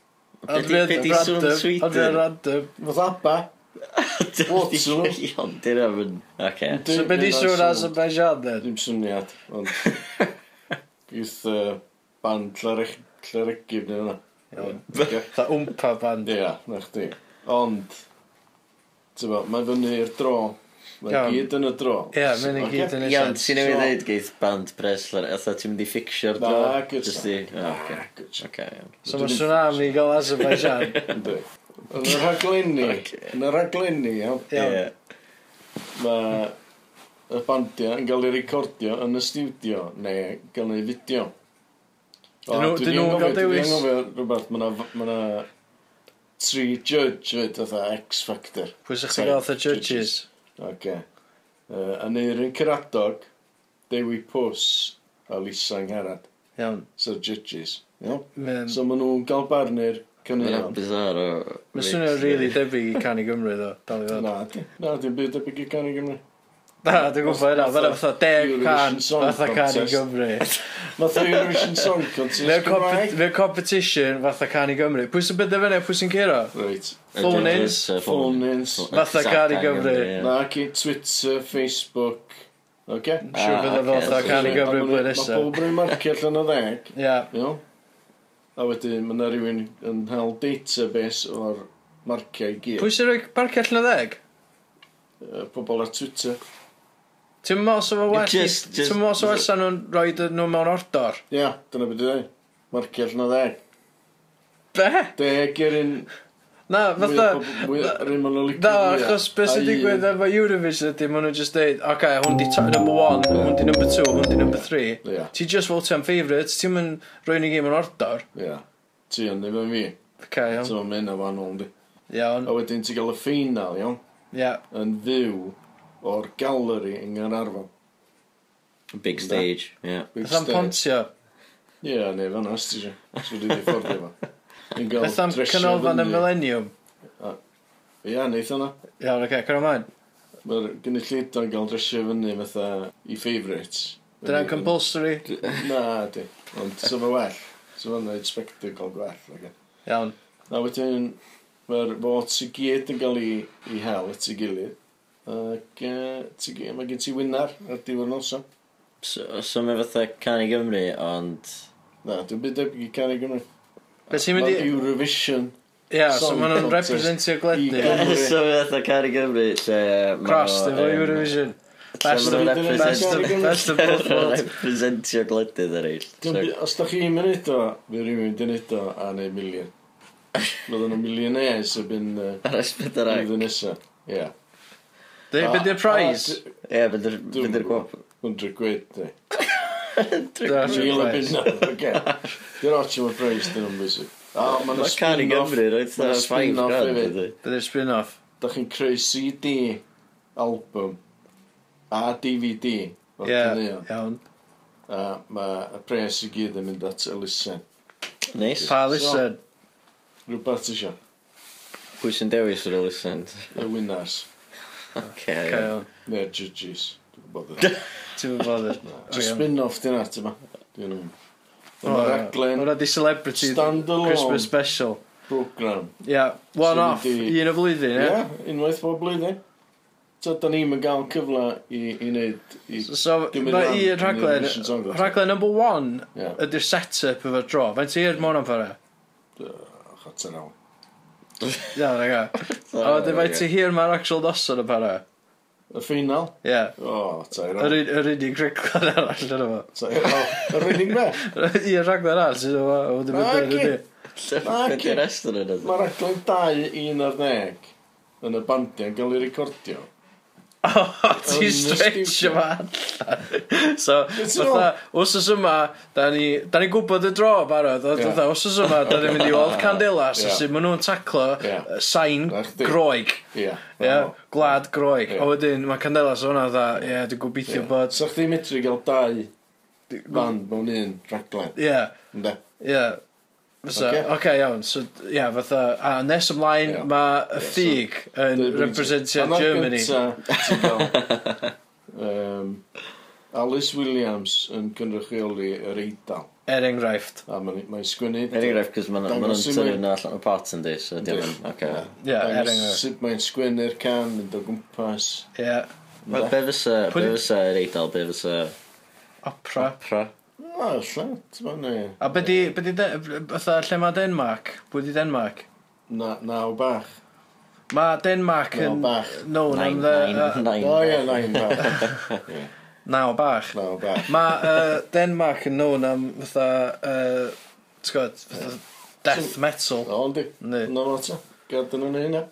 Speaker 4: Be' di- be' di sŵn Sweden?
Speaker 2: Ond fe'n random.
Speaker 6: Fydd abba. Waterloo.
Speaker 4: [laughs] Iawn, dyna fy'n... Oce.
Speaker 2: So beth i sŵn Azerbaijan, then?
Speaker 6: Dim syniad,
Speaker 2: [laughs]
Speaker 6: ond gwyth uh, band llerech- lleregyd neu hwnna.
Speaker 2: Iawn.
Speaker 6: Ie,
Speaker 2: Tha wmpa band.
Speaker 6: Ie, na chdi. Ond, ti'n bo, mae fyny i'r dro. Mae
Speaker 2: Iawn.
Speaker 6: gyd yn y dro.
Speaker 2: Ie, mae'n i gyd yn ei
Speaker 4: Iawn,
Speaker 2: sens.
Speaker 4: ti'n ei
Speaker 6: So-
Speaker 4: wneud geith band Bresler, eitha ti'n mynd i ffixio'r
Speaker 6: Na,
Speaker 4: dro?
Speaker 6: gyda.
Speaker 4: Jyst i... o, Oce,
Speaker 6: Yn
Speaker 4: oce, iawn.
Speaker 2: So mae tsunami i gael
Speaker 4: [laughs]
Speaker 2: Azerbaijan.
Speaker 6: y rhaglenni,
Speaker 4: Ocê.
Speaker 6: yn y rhaglenni, iawn,
Speaker 2: Iawn.
Speaker 4: Ie.
Speaker 6: mae y bandiau yn cael ei recordio yn y studio neu gael ei fideo. O,
Speaker 2: Dyn nhw-
Speaker 6: dwi
Speaker 2: dyn
Speaker 6: di
Speaker 2: nhw
Speaker 6: anghofio-
Speaker 2: gael dewis?
Speaker 6: Dwi anghofio rhywbeth, mae yna- mae yna tri judge fyd, fatha X Factor.
Speaker 2: Pwy sy'ch ti'n gael the judges?
Speaker 6: Oce. Yy, Yn eirin Cyradog, Dewi Pws a Lisa Ngherad,
Speaker 2: Iawn.
Speaker 6: sy'r judges. Iawn?
Speaker 2: Mae'n...
Speaker 6: So maen nhw'n gael barnu'r
Speaker 2: Ie.
Speaker 6: Canu
Speaker 4: Mae'n
Speaker 6: iawn.
Speaker 4: bizar o...
Speaker 2: Mae swnio'n rili debyg i Canu Gymru, ddo. Dal i ddod.
Speaker 6: Na, di. Na, dim byd debyg i Canu Gymru.
Speaker 2: Na, dwi'n gwybod yna. Mae'n fatha 10 can,
Speaker 6: Eurovision Song
Speaker 2: fatha Canu
Speaker 6: Contest.
Speaker 2: Gymru.
Speaker 6: Nath o Eurovision Song
Speaker 2: Mewn
Speaker 6: Contest
Speaker 2: compe-
Speaker 6: Cymraeg.
Speaker 2: mewn competition, fatha Canu Gymru. Pwy sy'n bydde fyny, a pwy sy'n curo?
Speaker 6: Reit.
Speaker 2: Phone-ins.
Speaker 4: uh,
Speaker 6: Phone-ins.
Speaker 2: Fatha Cari Gymru.
Speaker 6: Na, ci Twitter, Facebook. Oce?
Speaker 2: Dwi'n siŵr bydde fo fatha Canu Gymru blwyddyn
Speaker 6: Mae
Speaker 2: nesaf.
Speaker 6: pob rwy'n marcio allan o ddeg.
Speaker 2: Ia.
Speaker 6: Iawn? A wedyn, mae yna rhywun yn hel database o'r marciau i gyd.
Speaker 2: Pwy sy'n rhoi barcio allan o ddeg?
Speaker 6: Yy, Pobl ar Twitter.
Speaker 2: Ti'n meddwl sef o well...
Speaker 4: Just- just-
Speaker 2: Ti'n meddwl sef o well sa nhw'n rhoi nhw mewn ordor?
Speaker 6: Ia, dyna beth i ddweud. Marcio allan o ddeg.
Speaker 2: Be?
Speaker 6: Deg i'r un...
Speaker 2: Na, fatha...
Speaker 6: Rwy'n mynd o licio
Speaker 2: Na, achos beth sy'n digwydd efo Eurovision ydy, maen nhw'n just deud, ok, hwn di top number one, hwn di number two, hwn di number three.
Speaker 6: Ia,
Speaker 2: Ti just vote am favourites, ti'n mynd rwy'n i gym yn ordor.
Speaker 6: ia. Ti yn efo fi.
Speaker 2: Ok, iawn.
Speaker 6: So mae'n yna fan hwn di.
Speaker 2: Iawn,
Speaker 6: A wedyn ti gael y ffeinal, iawn?
Speaker 2: ia.
Speaker 6: Yn fyw o'r galeri yng Nghanarfon.
Speaker 4: Big stage, ie.
Speaker 2: Beth am pontio?
Speaker 6: Ie, neu fan os ti eisiau. Os wedi di fforddi
Speaker 2: [laughs]
Speaker 6: efo. Ni'n gael
Speaker 2: Beth am
Speaker 6: dresio
Speaker 2: canolfan y
Speaker 6: fyny.
Speaker 2: millennium?
Speaker 6: Ie, neith yna.
Speaker 2: Iawn, ok, cyrra maen.
Speaker 6: Mae'r gynulleidfa yn gael dresio fyny fatha i favourites.
Speaker 2: Dyna'n compulsory.
Speaker 6: Na, di. Ond so fe well. So fe'n gwneud spectacle gwell. Okay.
Speaker 2: Iawn.
Speaker 6: A wedyn, mae'r votes i gyd yn cael ei, ei hel at ei gilydd. Ac uh, mae gen ti wynar ar diwedd noson.
Speaker 4: So, so mae fatha Cari Gymru, [laughs] ond...
Speaker 6: Na, dwi'n byd ebyg i Cari Gymru.
Speaker 2: Beth ti'n mynd
Speaker 6: Mae
Speaker 2: i...
Speaker 6: Eurovision.
Speaker 2: Ia, so
Speaker 6: Song
Speaker 2: maen nhw'n
Speaker 6: contest
Speaker 2: representio
Speaker 6: i
Speaker 2: gledni.
Speaker 6: Gymru.
Speaker 4: so mae fatha Cari Gymru, lle... ma' nhw
Speaker 2: Cross,
Speaker 4: yn-
Speaker 2: efo Eurovision. Best of,
Speaker 4: ma' nhw'n
Speaker 2: best of,
Speaker 4: represent-
Speaker 2: best of
Speaker 4: [laughs]
Speaker 2: both worlds.
Speaker 4: Representio gledydd eraill.
Speaker 6: Dwi'n
Speaker 4: So-
Speaker 6: byd- Os da chi'n mynd o, fe rhywun yn mynd o a neu milion. Roedden nhw'n millionaires erbyn
Speaker 2: [laughs]
Speaker 6: uh,
Speaker 4: Ar S4C.
Speaker 6: flwyddyn nesaf. Ie.
Speaker 2: Dwi'n
Speaker 6: Ah,
Speaker 2: byd i'r prize.
Speaker 4: Ie, bydd yr-
Speaker 6: Dwi'm
Speaker 4: bydd yr
Speaker 6: gwbo.
Speaker 4: gwop.
Speaker 6: 100 quid, di.
Speaker 2: Dwi'n
Speaker 6: Mil y
Speaker 2: siŵr prize.
Speaker 6: bunna, [laughs] oce. Dwi'n ots am y preis, dyn nhw'n bwysig. A, mae'n
Speaker 4: Mae Cari Gymru, roedd
Speaker 6: ma' 'na
Speaker 4: ta 5
Speaker 6: spin-off
Speaker 4: grand,
Speaker 6: hefyd.
Speaker 4: ydy.
Speaker 2: Dwi'n spin-off.
Speaker 6: Da chi'n creu CD, album, a DVD. o'r
Speaker 2: Ie,
Speaker 6: caneuon.
Speaker 2: iawn.
Speaker 6: A mae y pres i gyd yn mynd at y lusen.
Speaker 4: Neis.
Speaker 2: Pa listen.
Speaker 6: Rhywbeth isio,
Speaker 4: Pwy sy'n dewis yr elusant?
Speaker 6: y winners,
Speaker 4: Oce.
Speaker 2: Okay, iawn.
Speaker 6: neu'r judges. Dwi'n gwybod.
Speaker 2: Ti'n mynd bothered.
Speaker 6: Y spin-off dyn at yma. Dwi'n Mae'r raglen
Speaker 2: Hwna di celebrity
Speaker 6: Stand-alone.
Speaker 2: Christmas special.
Speaker 6: program.
Speaker 2: Ia, yeah, one
Speaker 6: Sy'n
Speaker 2: off,
Speaker 6: mynd i-
Speaker 2: un o flwyddyn,
Speaker 6: Ie,
Speaker 2: ie? Yeah.
Speaker 6: unwaith bob blwyddyn. So, da ni'n mynd gael cyfle i, i wneud... I...
Speaker 2: So,
Speaker 6: Dwi'n mynd
Speaker 2: mae
Speaker 6: lan
Speaker 2: un
Speaker 6: yn
Speaker 2: rhaglen,
Speaker 6: Eurovision Song Contest.
Speaker 2: rhaglen number one
Speaker 6: Ie,
Speaker 2: ydy'r set-up efo'r dro. Fe'n ti i'r mon am fyrra?
Speaker 6: chot ar awn.
Speaker 2: Ia, na ga.
Speaker 6: [laughs]
Speaker 2: A wedyn fe'n ti hir mae'r actual noson yn para.
Speaker 6: Y ffeinal?
Speaker 2: Ie. Yeah.
Speaker 6: O, tair
Speaker 2: Yr
Speaker 6: awn.
Speaker 2: un- yr unig rhaglen arall yn efo.
Speaker 6: Tair awn. Yr unig be?
Speaker 2: Un rhaglen arall sy'n efo, a wedyn
Speaker 6: Ah,
Speaker 2: mynd
Speaker 6: oce.
Speaker 2: ydy.
Speaker 4: Beth yw'r estyn yn ydy?
Speaker 6: Mae'r aglen 2, 1 ar 10 yn y bandiau yn cael ei recordio.
Speaker 2: [laughs] O,
Speaker 6: Yn
Speaker 2: ti
Speaker 6: y
Speaker 2: stretch
Speaker 6: studio.
Speaker 2: yma allan. So,
Speaker 6: It's
Speaker 2: fatha, wsos yma, da ni, da ni gwybod y dro barod, ond
Speaker 6: Ie.
Speaker 2: fatha, wsos yma, da ni'n mynd i
Speaker 6: [laughs]
Speaker 2: weld Candelas,
Speaker 6: Ie.
Speaker 2: yeah. sy'n maen nhw'n taclo
Speaker 6: Ie.
Speaker 2: yeah. sain
Speaker 6: Na chdi.
Speaker 2: groeg,
Speaker 6: Ie.
Speaker 2: ie, gwlad groeg.
Speaker 6: Ie.
Speaker 2: A wedyn, mae Candelas hwnna, dda, ie, dwi'n gobeithio bod...
Speaker 6: Sa chdi medru gael 2 band mewn un raglen.
Speaker 2: Ie,
Speaker 6: Ynde?
Speaker 2: ie. Fysa,
Speaker 6: Ocê.
Speaker 2: oce, iawn, so, ie, fatha, a nes ymlaen,
Speaker 6: Ie.
Speaker 2: mae y
Speaker 6: Ie, so-
Speaker 2: ffug yn
Speaker 6: Dwi'n-
Speaker 2: representio
Speaker 6: Hannar
Speaker 2: Germany.
Speaker 6: gynta, ti'n gweld, yym, Alice Williams yn cynrychioli yr Eidal.
Speaker 2: Er enghraifft,
Speaker 6: A mae'n mae sgwynnu...
Speaker 4: Er enghraifft, cos ma'n ma'n
Speaker 6: Dangos i mi.
Speaker 4: tynnu yna allan o pot yn di, so diolch yn, oce.
Speaker 2: ie, er enghraifft,
Speaker 6: Sut mae'n sgwynnu'r can yn do gwmpas.
Speaker 2: ie.
Speaker 4: Be be fysa, be
Speaker 2: Pwy-
Speaker 4: fysa yr eidl, be fysa
Speaker 2: Opera.
Speaker 4: pra?
Speaker 6: Na, allan, ti'n fan ni.
Speaker 2: A be di, be di, de- fatha, lle mae Denmark? Pwy di Denmark?
Speaker 6: Na, naw bach.
Speaker 2: Mae Denmark
Speaker 6: Naw
Speaker 2: yn...
Speaker 6: bach.
Speaker 2: Known am
Speaker 4: Nain,
Speaker 2: the...
Speaker 4: nain,
Speaker 2: uh,
Speaker 6: O ie,
Speaker 4: nain.
Speaker 6: nain bach.
Speaker 2: Naw bach.
Speaker 6: Naw bach.
Speaker 2: Mae uh, Denmark yn known am fatha, uh, ti'n gwybod, fatha death metal.
Speaker 6: O, ynddi.
Speaker 2: Neu,
Speaker 6: Na fo ta. Gadyn nhw'n hynna.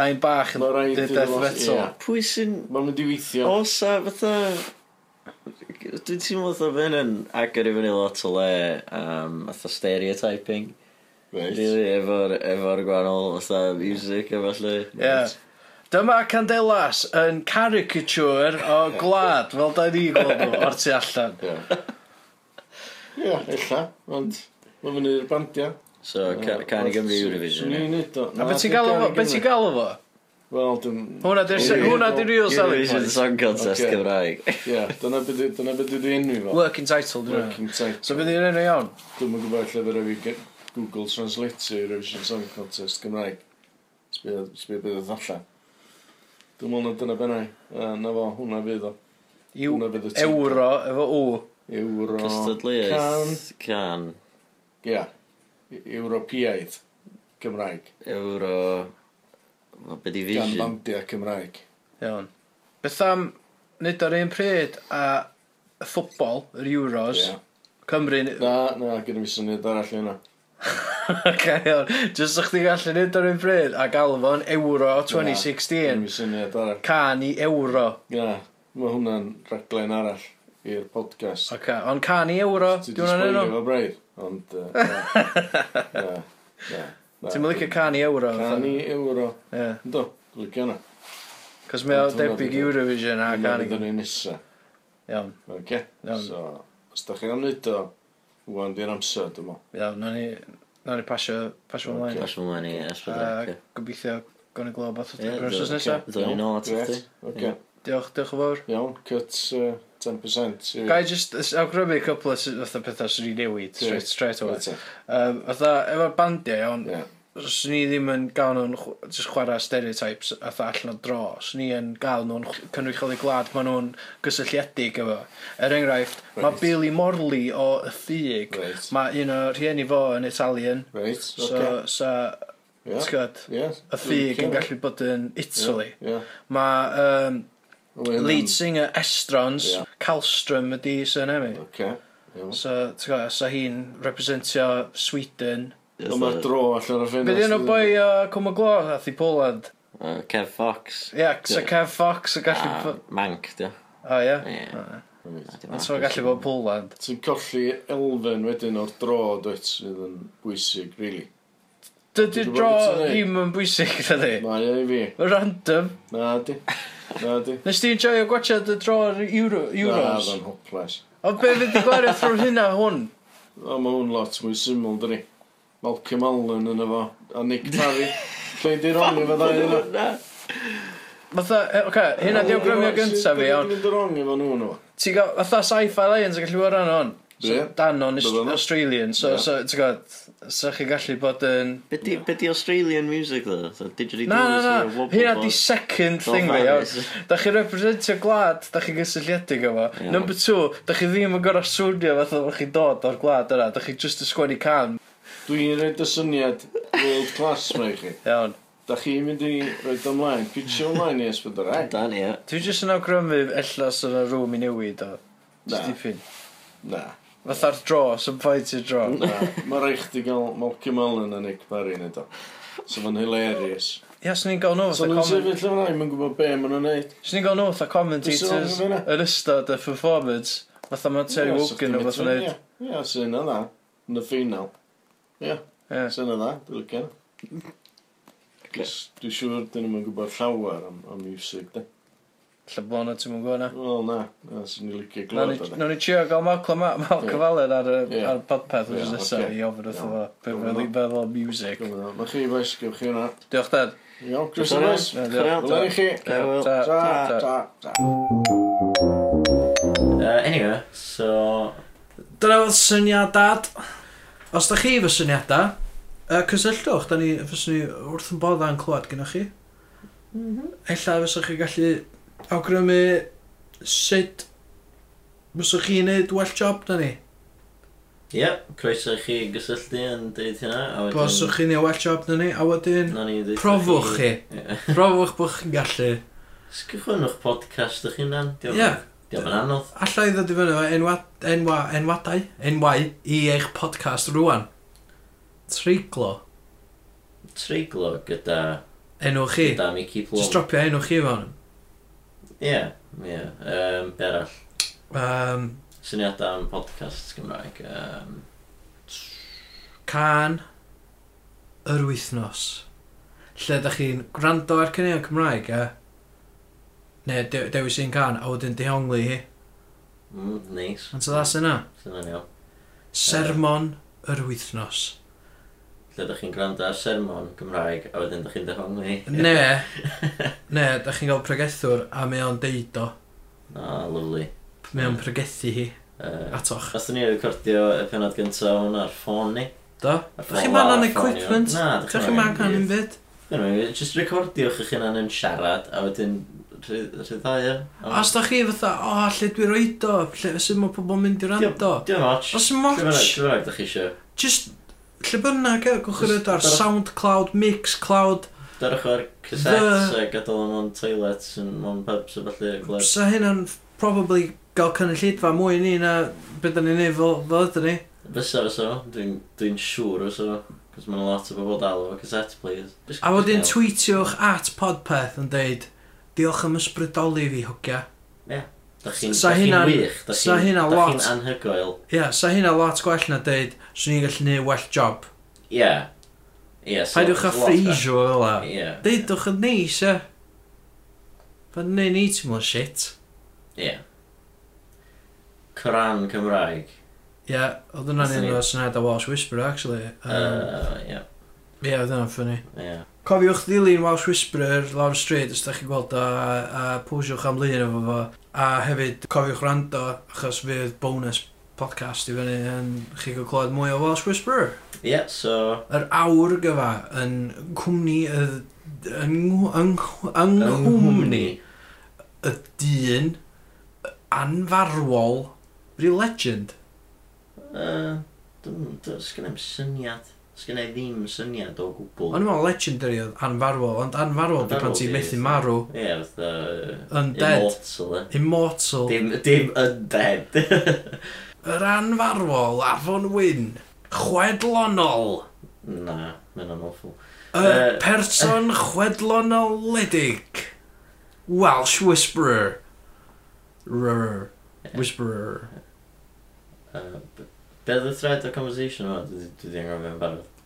Speaker 2: Nain bach yn
Speaker 6: Ma' raid
Speaker 2: di
Speaker 6: iddyn
Speaker 2: death
Speaker 6: nhw-
Speaker 2: metal.
Speaker 6: ie.
Speaker 4: Pwy sy'n...
Speaker 6: Mae'n mynd i weithio.
Speaker 4: Osa, fatha... Dwi'n teimlo fatha fe hynny'n agor i fyny lot o le am fatha stereotyping.
Speaker 6: Reit.
Speaker 4: Rili, efo'r efo'r gwahanol fatha music a falle.
Speaker 2: Ie. Dyma Candelas yn caricature o glad, fel da ni gweld nhw, o'r tu allan.
Speaker 6: Ie. Ie, illa. Ond, mae'n mynd i'r bandia.
Speaker 4: So, ca- can i gymryd Eurovision,
Speaker 6: Swn
Speaker 4: ie?
Speaker 6: i'n neud o.
Speaker 2: A
Speaker 6: Na,
Speaker 2: beth ti'n
Speaker 6: dwi'n
Speaker 2: galw fo?
Speaker 6: caru
Speaker 2: Beth ti'n
Speaker 6: Gymru.
Speaker 2: galw fo?
Speaker 6: Wel, dwi'n...
Speaker 2: Hwna di'r se- hwnna di'r real selling
Speaker 4: Eurovision
Speaker 2: point.
Speaker 4: Song Contest
Speaker 6: Ocê.
Speaker 4: Cymraeg.
Speaker 6: Ie, dyna beth dwi- dyna beth dwi'n enw i fo.
Speaker 2: Working title, dwi'n meddwl.
Speaker 6: Working title.
Speaker 2: So beth yw'n enw iawn?
Speaker 6: Dwi'n mwyn gwybod lle fyrra fi ge- Google Translate i Eurovision Song Contest Gymraeg. Sbio sbio beth oedd allan. Dwi'n mwyn na dyna bennau. A, Na fo, hwnna fydd o.
Speaker 2: Yw
Speaker 6: Hwnna fydd y tîm.
Speaker 2: euro efo w.
Speaker 6: Euro... Can.
Speaker 4: Cystadleuaeth, can,
Speaker 6: Ie. E- Ewropeaidd. Cymraeg.
Speaker 4: euro... Wel, be di
Speaker 6: Gan
Speaker 4: vision?
Speaker 6: bandiau Cymraeg.
Speaker 2: Iawn. Beth am nid ar un pryd a y ffwbol, yr euros,
Speaker 6: Ie.
Speaker 2: Cymru... [laughs]
Speaker 6: Na, na, gyda fi syniad arall yna.
Speaker 2: Oce, iawn. Just o'ch ti'n gallu nid ar un pryd a galw fo'n euro
Speaker 6: Gyda
Speaker 2: 2016.
Speaker 6: fi syniad arall.
Speaker 2: Can i euro.
Speaker 6: Na, mae hwnna'n raglen arall i'r podcast.
Speaker 2: Oce, ond can i euro,
Speaker 6: Ti
Speaker 2: dwi'n
Speaker 6: di
Speaker 2: hwnna'n
Speaker 6: sbwylio
Speaker 2: enw?
Speaker 6: fo braidd, ond... yy,
Speaker 2: [laughs]
Speaker 6: Na, na, na, na.
Speaker 2: Ti'n mylicio can i euro?
Speaker 6: Can i euro.
Speaker 2: Ie.
Speaker 6: Ynddo, licio yna.
Speaker 2: Cos mae o
Speaker 6: Hwnna
Speaker 2: debyg
Speaker 6: fydd o-
Speaker 2: Eurovision a
Speaker 6: Hwnna
Speaker 2: can
Speaker 6: fydd
Speaker 2: i...
Speaker 6: yn ei nesa.
Speaker 2: Iawn,
Speaker 6: Oce?
Speaker 2: Iawn.
Speaker 6: So, os da chi am wneud o, wwan di'r amser, dyma.
Speaker 2: iawn, na ni... Na ni pasio, pasio
Speaker 6: Ocê.
Speaker 2: ymlaen.
Speaker 4: Pas fy mlaen i
Speaker 2: A
Speaker 4: S4C.
Speaker 2: gobeithio gawn i glywed beth
Speaker 4: Ie,
Speaker 2: o'r broses
Speaker 4: dwi'n-
Speaker 2: nesaf.
Speaker 4: Dwi'n ni nôl at chdi.
Speaker 6: Oce,
Speaker 2: Diolch, diolch yn fawr.
Speaker 6: iawn, cut yy, 10% i fi.
Speaker 2: Gai just s- awgrymu cwpl o s- fatha pethau sy'n ei newid,
Speaker 6: Ie.
Speaker 2: straight, straight away.
Speaker 6: Reit,
Speaker 2: Um, fatha, efo'r bandiau iawn,
Speaker 6: Ie,
Speaker 2: swn i ddim yn gael nhw'n chw- jyst chwarae stereotypes a tha allan o dro. Swn i yn gael nhw'n chw- cynrychioli glad maen nhw'n gysylltiedig efo. Er enghraifft, right. mae
Speaker 6: Reit.
Speaker 2: Billy Morley o y ffug,
Speaker 6: Reit.
Speaker 2: mae un o rhieni fo yn Italian,
Speaker 6: reit,
Speaker 2: so,
Speaker 6: oce.
Speaker 2: so,
Speaker 6: Ie,
Speaker 2: ti'n gwybod,
Speaker 6: ie.
Speaker 2: y ffug yn gallu bod yn Italy.
Speaker 6: Ie,
Speaker 2: Mae um,
Speaker 6: ie.
Speaker 2: lead singer Estrons,
Speaker 6: Ie.
Speaker 2: Calstrom ydi sy'n emi.
Speaker 6: Oce, iawn.
Speaker 2: So, ti'n gwybod, sa hi'n representio Sweden.
Speaker 6: Ond mae'r dro allan o'r ffenest.
Speaker 2: Be di enw boi o Cwm y Glo, ath i Poland?
Speaker 4: Yy, Kev Fox.
Speaker 2: Ie, so
Speaker 4: Ie.
Speaker 2: Kev Fox yn gallu...
Speaker 6: Ah.
Speaker 4: A
Speaker 2: fo-
Speaker 4: Manc, di o.
Speaker 2: O, ie.
Speaker 4: Ie.
Speaker 6: Reit.
Speaker 2: Ond so'n gallu bod Poland.
Speaker 6: Ti'n colli elfen wedyn o'r dro, dweud, sydd yn bwysig, really.
Speaker 2: Dydy'r
Speaker 6: Dwi'n
Speaker 2: dro
Speaker 6: gwbod beth ti'n
Speaker 2: ddim yn bwysig, [laughs] dydy.
Speaker 6: Mae o i fi.
Speaker 2: Random.
Speaker 6: Na di. Na
Speaker 2: [laughs]
Speaker 6: di.
Speaker 2: Nes ti'n joio gwachio dy dro ar Euro,
Speaker 6: Na,
Speaker 2: Euros?
Speaker 6: dda'n hoples.
Speaker 2: Ond be fydd i gwario ffrom hynna hwn?
Speaker 6: O, mae hwn lot mwy syml, dyn ni. Malcolm Allen yn efo, a
Speaker 2: [laughs]
Speaker 6: Nick Parry. Lle di'r rong efo ddau yna?
Speaker 2: Fatha, e, oce, hynna di awgrymio gyntaf fi, iawn.
Speaker 6: Dwi'n mynd rong efo nhw yna.
Speaker 2: Ti'n gael, fatha sci-fi lions yn gallu bod ran hwn. So,
Speaker 6: Ie.
Speaker 2: dan o'n
Speaker 6: Byddan nhw.
Speaker 2: Australian, so,
Speaker 6: Ie.
Speaker 2: so, ti'n gwybod, so chi gallu bod yn...
Speaker 4: Be di, be di Australian music, ddo? So, didgeridoo,
Speaker 2: Na, na,
Speaker 4: sort of
Speaker 2: na,
Speaker 4: wobble
Speaker 2: hynna
Speaker 4: ball.
Speaker 2: di second
Speaker 4: Bob
Speaker 2: thing fi, iawn.
Speaker 4: Harris.
Speaker 2: Da chi'n representio gwlad, da chi'n gysylltiedig efo.
Speaker 4: Iawn.
Speaker 2: Number two, da chi ddim yn gorau swnio fatha bod chi'n dod o'r gwlad yna. Da chi just yn sgwennu can.
Speaker 6: Dwi'n rhaid y syniad world class mae chi.
Speaker 2: Iawn.
Speaker 6: Da chi'n mynd i roed ymlaen. Pitio ymlaen i esbydor rhaid.
Speaker 4: Dan, ie.
Speaker 2: Dwi just yn awgrymu ella sy'n y rŵm i newid o.
Speaker 6: Na.
Speaker 2: Just dipyn.
Speaker 6: Na.
Speaker 2: Fatha'r dro, sy'n pwynt i'r dro.
Speaker 6: Na. Mae rhaid i gael Malcolm Allen a Nick Parry yn edo. So fan hilarious.
Speaker 2: Ia, swn i'n gael nhw
Speaker 6: So
Speaker 2: fatha
Speaker 6: nhw'n
Speaker 2: comment.
Speaker 6: sefyll yma, mae'n gwybod be maen nhw'n neud.
Speaker 2: Swn i'n gael nhw fatha
Speaker 6: Dwi'n
Speaker 2: commentators
Speaker 6: sôn am hynna.
Speaker 2: yn ystod y performance. Fatha mae Terry Wogan o fatha neud.
Speaker 6: Ie, Ie, sy'n yna dda. Yn y ffinal. Ie,
Speaker 2: Ie.
Speaker 6: sy'n yna dda. Dwi'n lycio yna. Cys Dwi'n siŵr dyn nhw'n gwybod llawer am, am music, de.
Speaker 2: Lle blona ti'n mwyn gwna.
Speaker 6: Wel, na. Na, sy'n ni licio
Speaker 2: Nawn
Speaker 6: glod o,
Speaker 2: ni-
Speaker 6: de.
Speaker 2: nawn ni trio gael Malcolm Ma- Malcolm Allen ar y
Speaker 6: e. Ie.
Speaker 2: ar y podpeth
Speaker 6: Ie,
Speaker 2: wrth nesaf
Speaker 6: ocê.
Speaker 2: i ofyn wrtho
Speaker 6: Iawn.
Speaker 2: fo. Be
Speaker 6: Dwi'n
Speaker 2: fel i
Speaker 6: meddwl.
Speaker 2: feddwl o music.
Speaker 6: Gwbod o. Mae chi fes, gewch chi hwnna.
Speaker 2: Diolch dad.
Speaker 6: Iawn, Chris
Speaker 4: Sorry.
Speaker 6: and Wes.
Speaker 2: Ie, diolch.
Speaker 4: Chwarae,
Speaker 6: Wel, i chi.
Speaker 4: Ta, Hwyl.
Speaker 2: Ta,
Speaker 6: Ta,
Speaker 2: ta, ta.
Speaker 6: ta, ta.
Speaker 4: Yy, Uh, anyway, so...
Speaker 7: Dyna oedd syniad dad. Os da chi fy syniadau, uh, cysylltwch, da ni fyswn ni wrth yn bodda'n clywed gynnwch chi. Ella fyswch chi gallu awgrymu sut fyswch chi'n neud well job na ni.
Speaker 4: Ie, croeso i chi gysylltu yn deud hynna. a wedyn-
Speaker 7: Boswch chi'n neud well job na ni, a wedyn
Speaker 4: Nawn ni ddeud-
Speaker 7: profwch chi.
Speaker 4: Ie.
Speaker 7: Profwch bod chi'n gallu.
Speaker 4: Sgychwyn o'ch podcast ych hunan. Diolch.
Speaker 7: Ie.
Speaker 4: Diolch yn anodd.
Speaker 7: Alla i ddod i fyny efo enwa, enwa, enwadau, enwau i eich podcast rwan. Treiglo,
Speaker 4: Treiglo gyda...
Speaker 7: enw chi.
Speaker 4: Gyda Mickey Plum.
Speaker 7: Just dropio enw chi fewn.
Speaker 4: Ie, ie. Yym, be arall?
Speaker 7: Um,
Speaker 4: Syniadau am podcasts Gymraeg. Yym,
Speaker 7: can yr wythnos lle da chi'n gwrando ar cynion Cymraeg e neu de dewis un can a wedyn dehongli hi
Speaker 4: Mm, neis.
Speaker 7: ond so that's yna
Speaker 4: Sy'n yn iawn.
Speaker 7: sermon yr wythnos
Speaker 4: Lle dych chi'n gwrando ar sermon Gymraeg, a wedyn dych chi'n dehong ni.
Speaker 2: Ne, [laughs] ne, da chi'n cael pregethwr a mae o'n deud o.
Speaker 4: O, lovely.
Speaker 2: Mae o'n pregethu hi
Speaker 4: Uh,
Speaker 2: atoch.
Speaker 4: Gastwn ni recordio y penod gyntaf hwn ar ffôn ni.
Speaker 2: Do?
Speaker 4: Ar
Speaker 2: Da
Speaker 4: ffôn
Speaker 2: chi'n
Speaker 4: law,
Speaker 2: man o'n
Speaker 4: ar ffôn
Speaker 2: equipment?
Speaker 4: iawn. Na, dych
Speaker 2: Da chi'n man gan i'n fyd?
Speaker 4: Anyway, just recordiwch eich hunan yn siarad, a wedyn rhyddai o.
Speaker 2: Os da chi fatha, o, lle dwi roed o, lle sy'n mae pobl mynd i rando.
Speaker 4: Dwi'n watch.
Speaker 2: Os
Speaker 4: Dwi'n
Speaker 2: moch,
Speaker 4: rhaid ydych chi eisiau.
Speaker 2: just, lle bynnag, e, gwch
Speaker 4: Jyst
Speaker 2: yr ydw ar
Speaker 4: bara-
Speaker 2: SoundCloud, Mixcloud,
Speaker 4: Dorch o'r cassettes a gadael yn o'n toilets yn o'n pubs a falle y glwb.
Speaker 2: sa hynna'n probably gael cynnyllidfa mwy ni na beth da ni'n neud fel, fel ydyn ni.
Speaker 4: Fysa fysa fo, dwi'n dwi siŵr fysa fo. Cos mae'n lot o bobl dal o cassette players. Jyst-
Speaker 2: A wedyn
Speaker 4: jyst
Speaker 2: tweetiwch at podpeth yn deud, diolch am ysbrydoli fi, hogia.
Speaker 4: gael. Dach chi'n
Speaker 2: sa
Speaker 4: dach chi'n
Speaker 2: hynna'n-
Speaker 4: wych, dach
Speaker 2: sa
Speaker 4: chi'n
Speaker 2: hynna
Speaker 4: dach chi'n
Speaker 2: lot.
Speaker 4: anhygoel.
Speaker 2: Ia, yeah, sa hynna lot gwell na deud, swn i'n gallu neud well job.
Speaker 4: Ie. Ie. so-
Speaker 2: Paidwch a
Speaker 4: lot bach.
Speaker 2: ffreisio fel la.
Speaker 4: Ie.
Speaker 2: Deudwch yn neis, e. Fan neu ni teimlo shit.
Speaker 4: Ie. Coran Cymraeg.
Speaker 2: Ie, yeah, oedd hwnna'n
Speaker 4: Wnaethon
Speaker 2: un
Speaker 4: ni-
Speaker 2: o syniad o Welsh Whisperer, actually. Yym, Ie,
Speaker 4: Yy, Uh, Ie.
Speaker 2: yeah, oedd hwnna'n ffynnu.
Speaker 4: Ie.
Speaker 2: Cofiwch ddilyn Welsh Whisperer lawr y stryd os da chi'n gweld o a, a pwyswch am lun efo fo a hefyd cofiwch rando achos fydd bonus podcast i fyny yn chi gael clywed mwy o Welsh Whisperer.
Speaker 4: Ie, so...
Speaker 2: Yr awr gyfa yn cwmni y yn ngw- yng ngw- yng nghwmni y dyn anfarwol Rhyw legend.
Speaker 4: Yy, Dwi'n... dwi- Sgyn i'm syniad. Sgyn i ddim syniad o gwbl.
Speaker 2: O'n i'n meddwl legendary oedd anfarwol, ond anfarwol di pan ti'n
Speaker 4: Anfarwol 'di,
Speaker 2: methu marw.
Speaker 4: Ie, fatha... yy,
Speaker 2: Undead.
Speaker 4: Immortal, e.
Speaker 2: Immortal.
Speaker 4: Dim, dim undead. [laughs]
Speaker 2: Yr anfarwol Afon Wyn, chwedlonol,
Speaker 4: Na, mae'n awful.
Speaker 2: y
Speaker 4: Yy. eh.
Speaker 2: person chwedlonoledig, Welsh Whisperer, Rrr, Whisperer.
Speaker 4: Uh, b- Be oedd y thread o conversation yma? Dwi dwi ddim yn gofio yn barod.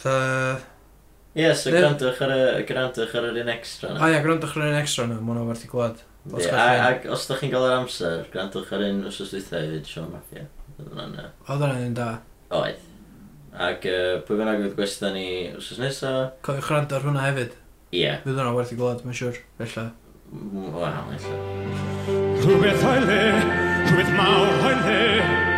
Speaker 2: The...
Speaker 4: Ie, so
Speaker 2: Be-
Speaker 4: grantwch ar y... grantwch ar yr un extra
Speaker 2: A
Speaker 4: na.
Speaker 2: ia, gwrandwch ar un extra nhw, mwyn o'r ti gwlad. os
Speaker 4: Ie,
Speaker 2: gallech
Speaker 4: a-
Speaker 2: chi.
Speaker 4: Ac os da chi'n gael yr amser, grantwch ar un os oes dweitha i fyd Sean Mafia. Oedd hwnna'n yy,
Speaker 2: Oedd hwnna'n un da.
Speaker 4: Oedd. Ac yy, pwy bynnag fydd gwestiwn ni wrth nesa?
Speaker 2: Cofiwch rand ar hwnna hefyd.
Speaker 4: Ie.
Speaker 2: Fydd hwnna werth i gwlad, mae'n siwr. Felly.
Speaker 4: M- Wel, ella.
Speaker 8: Rhywbeth o'i le, rhywbeth mawr o'i le,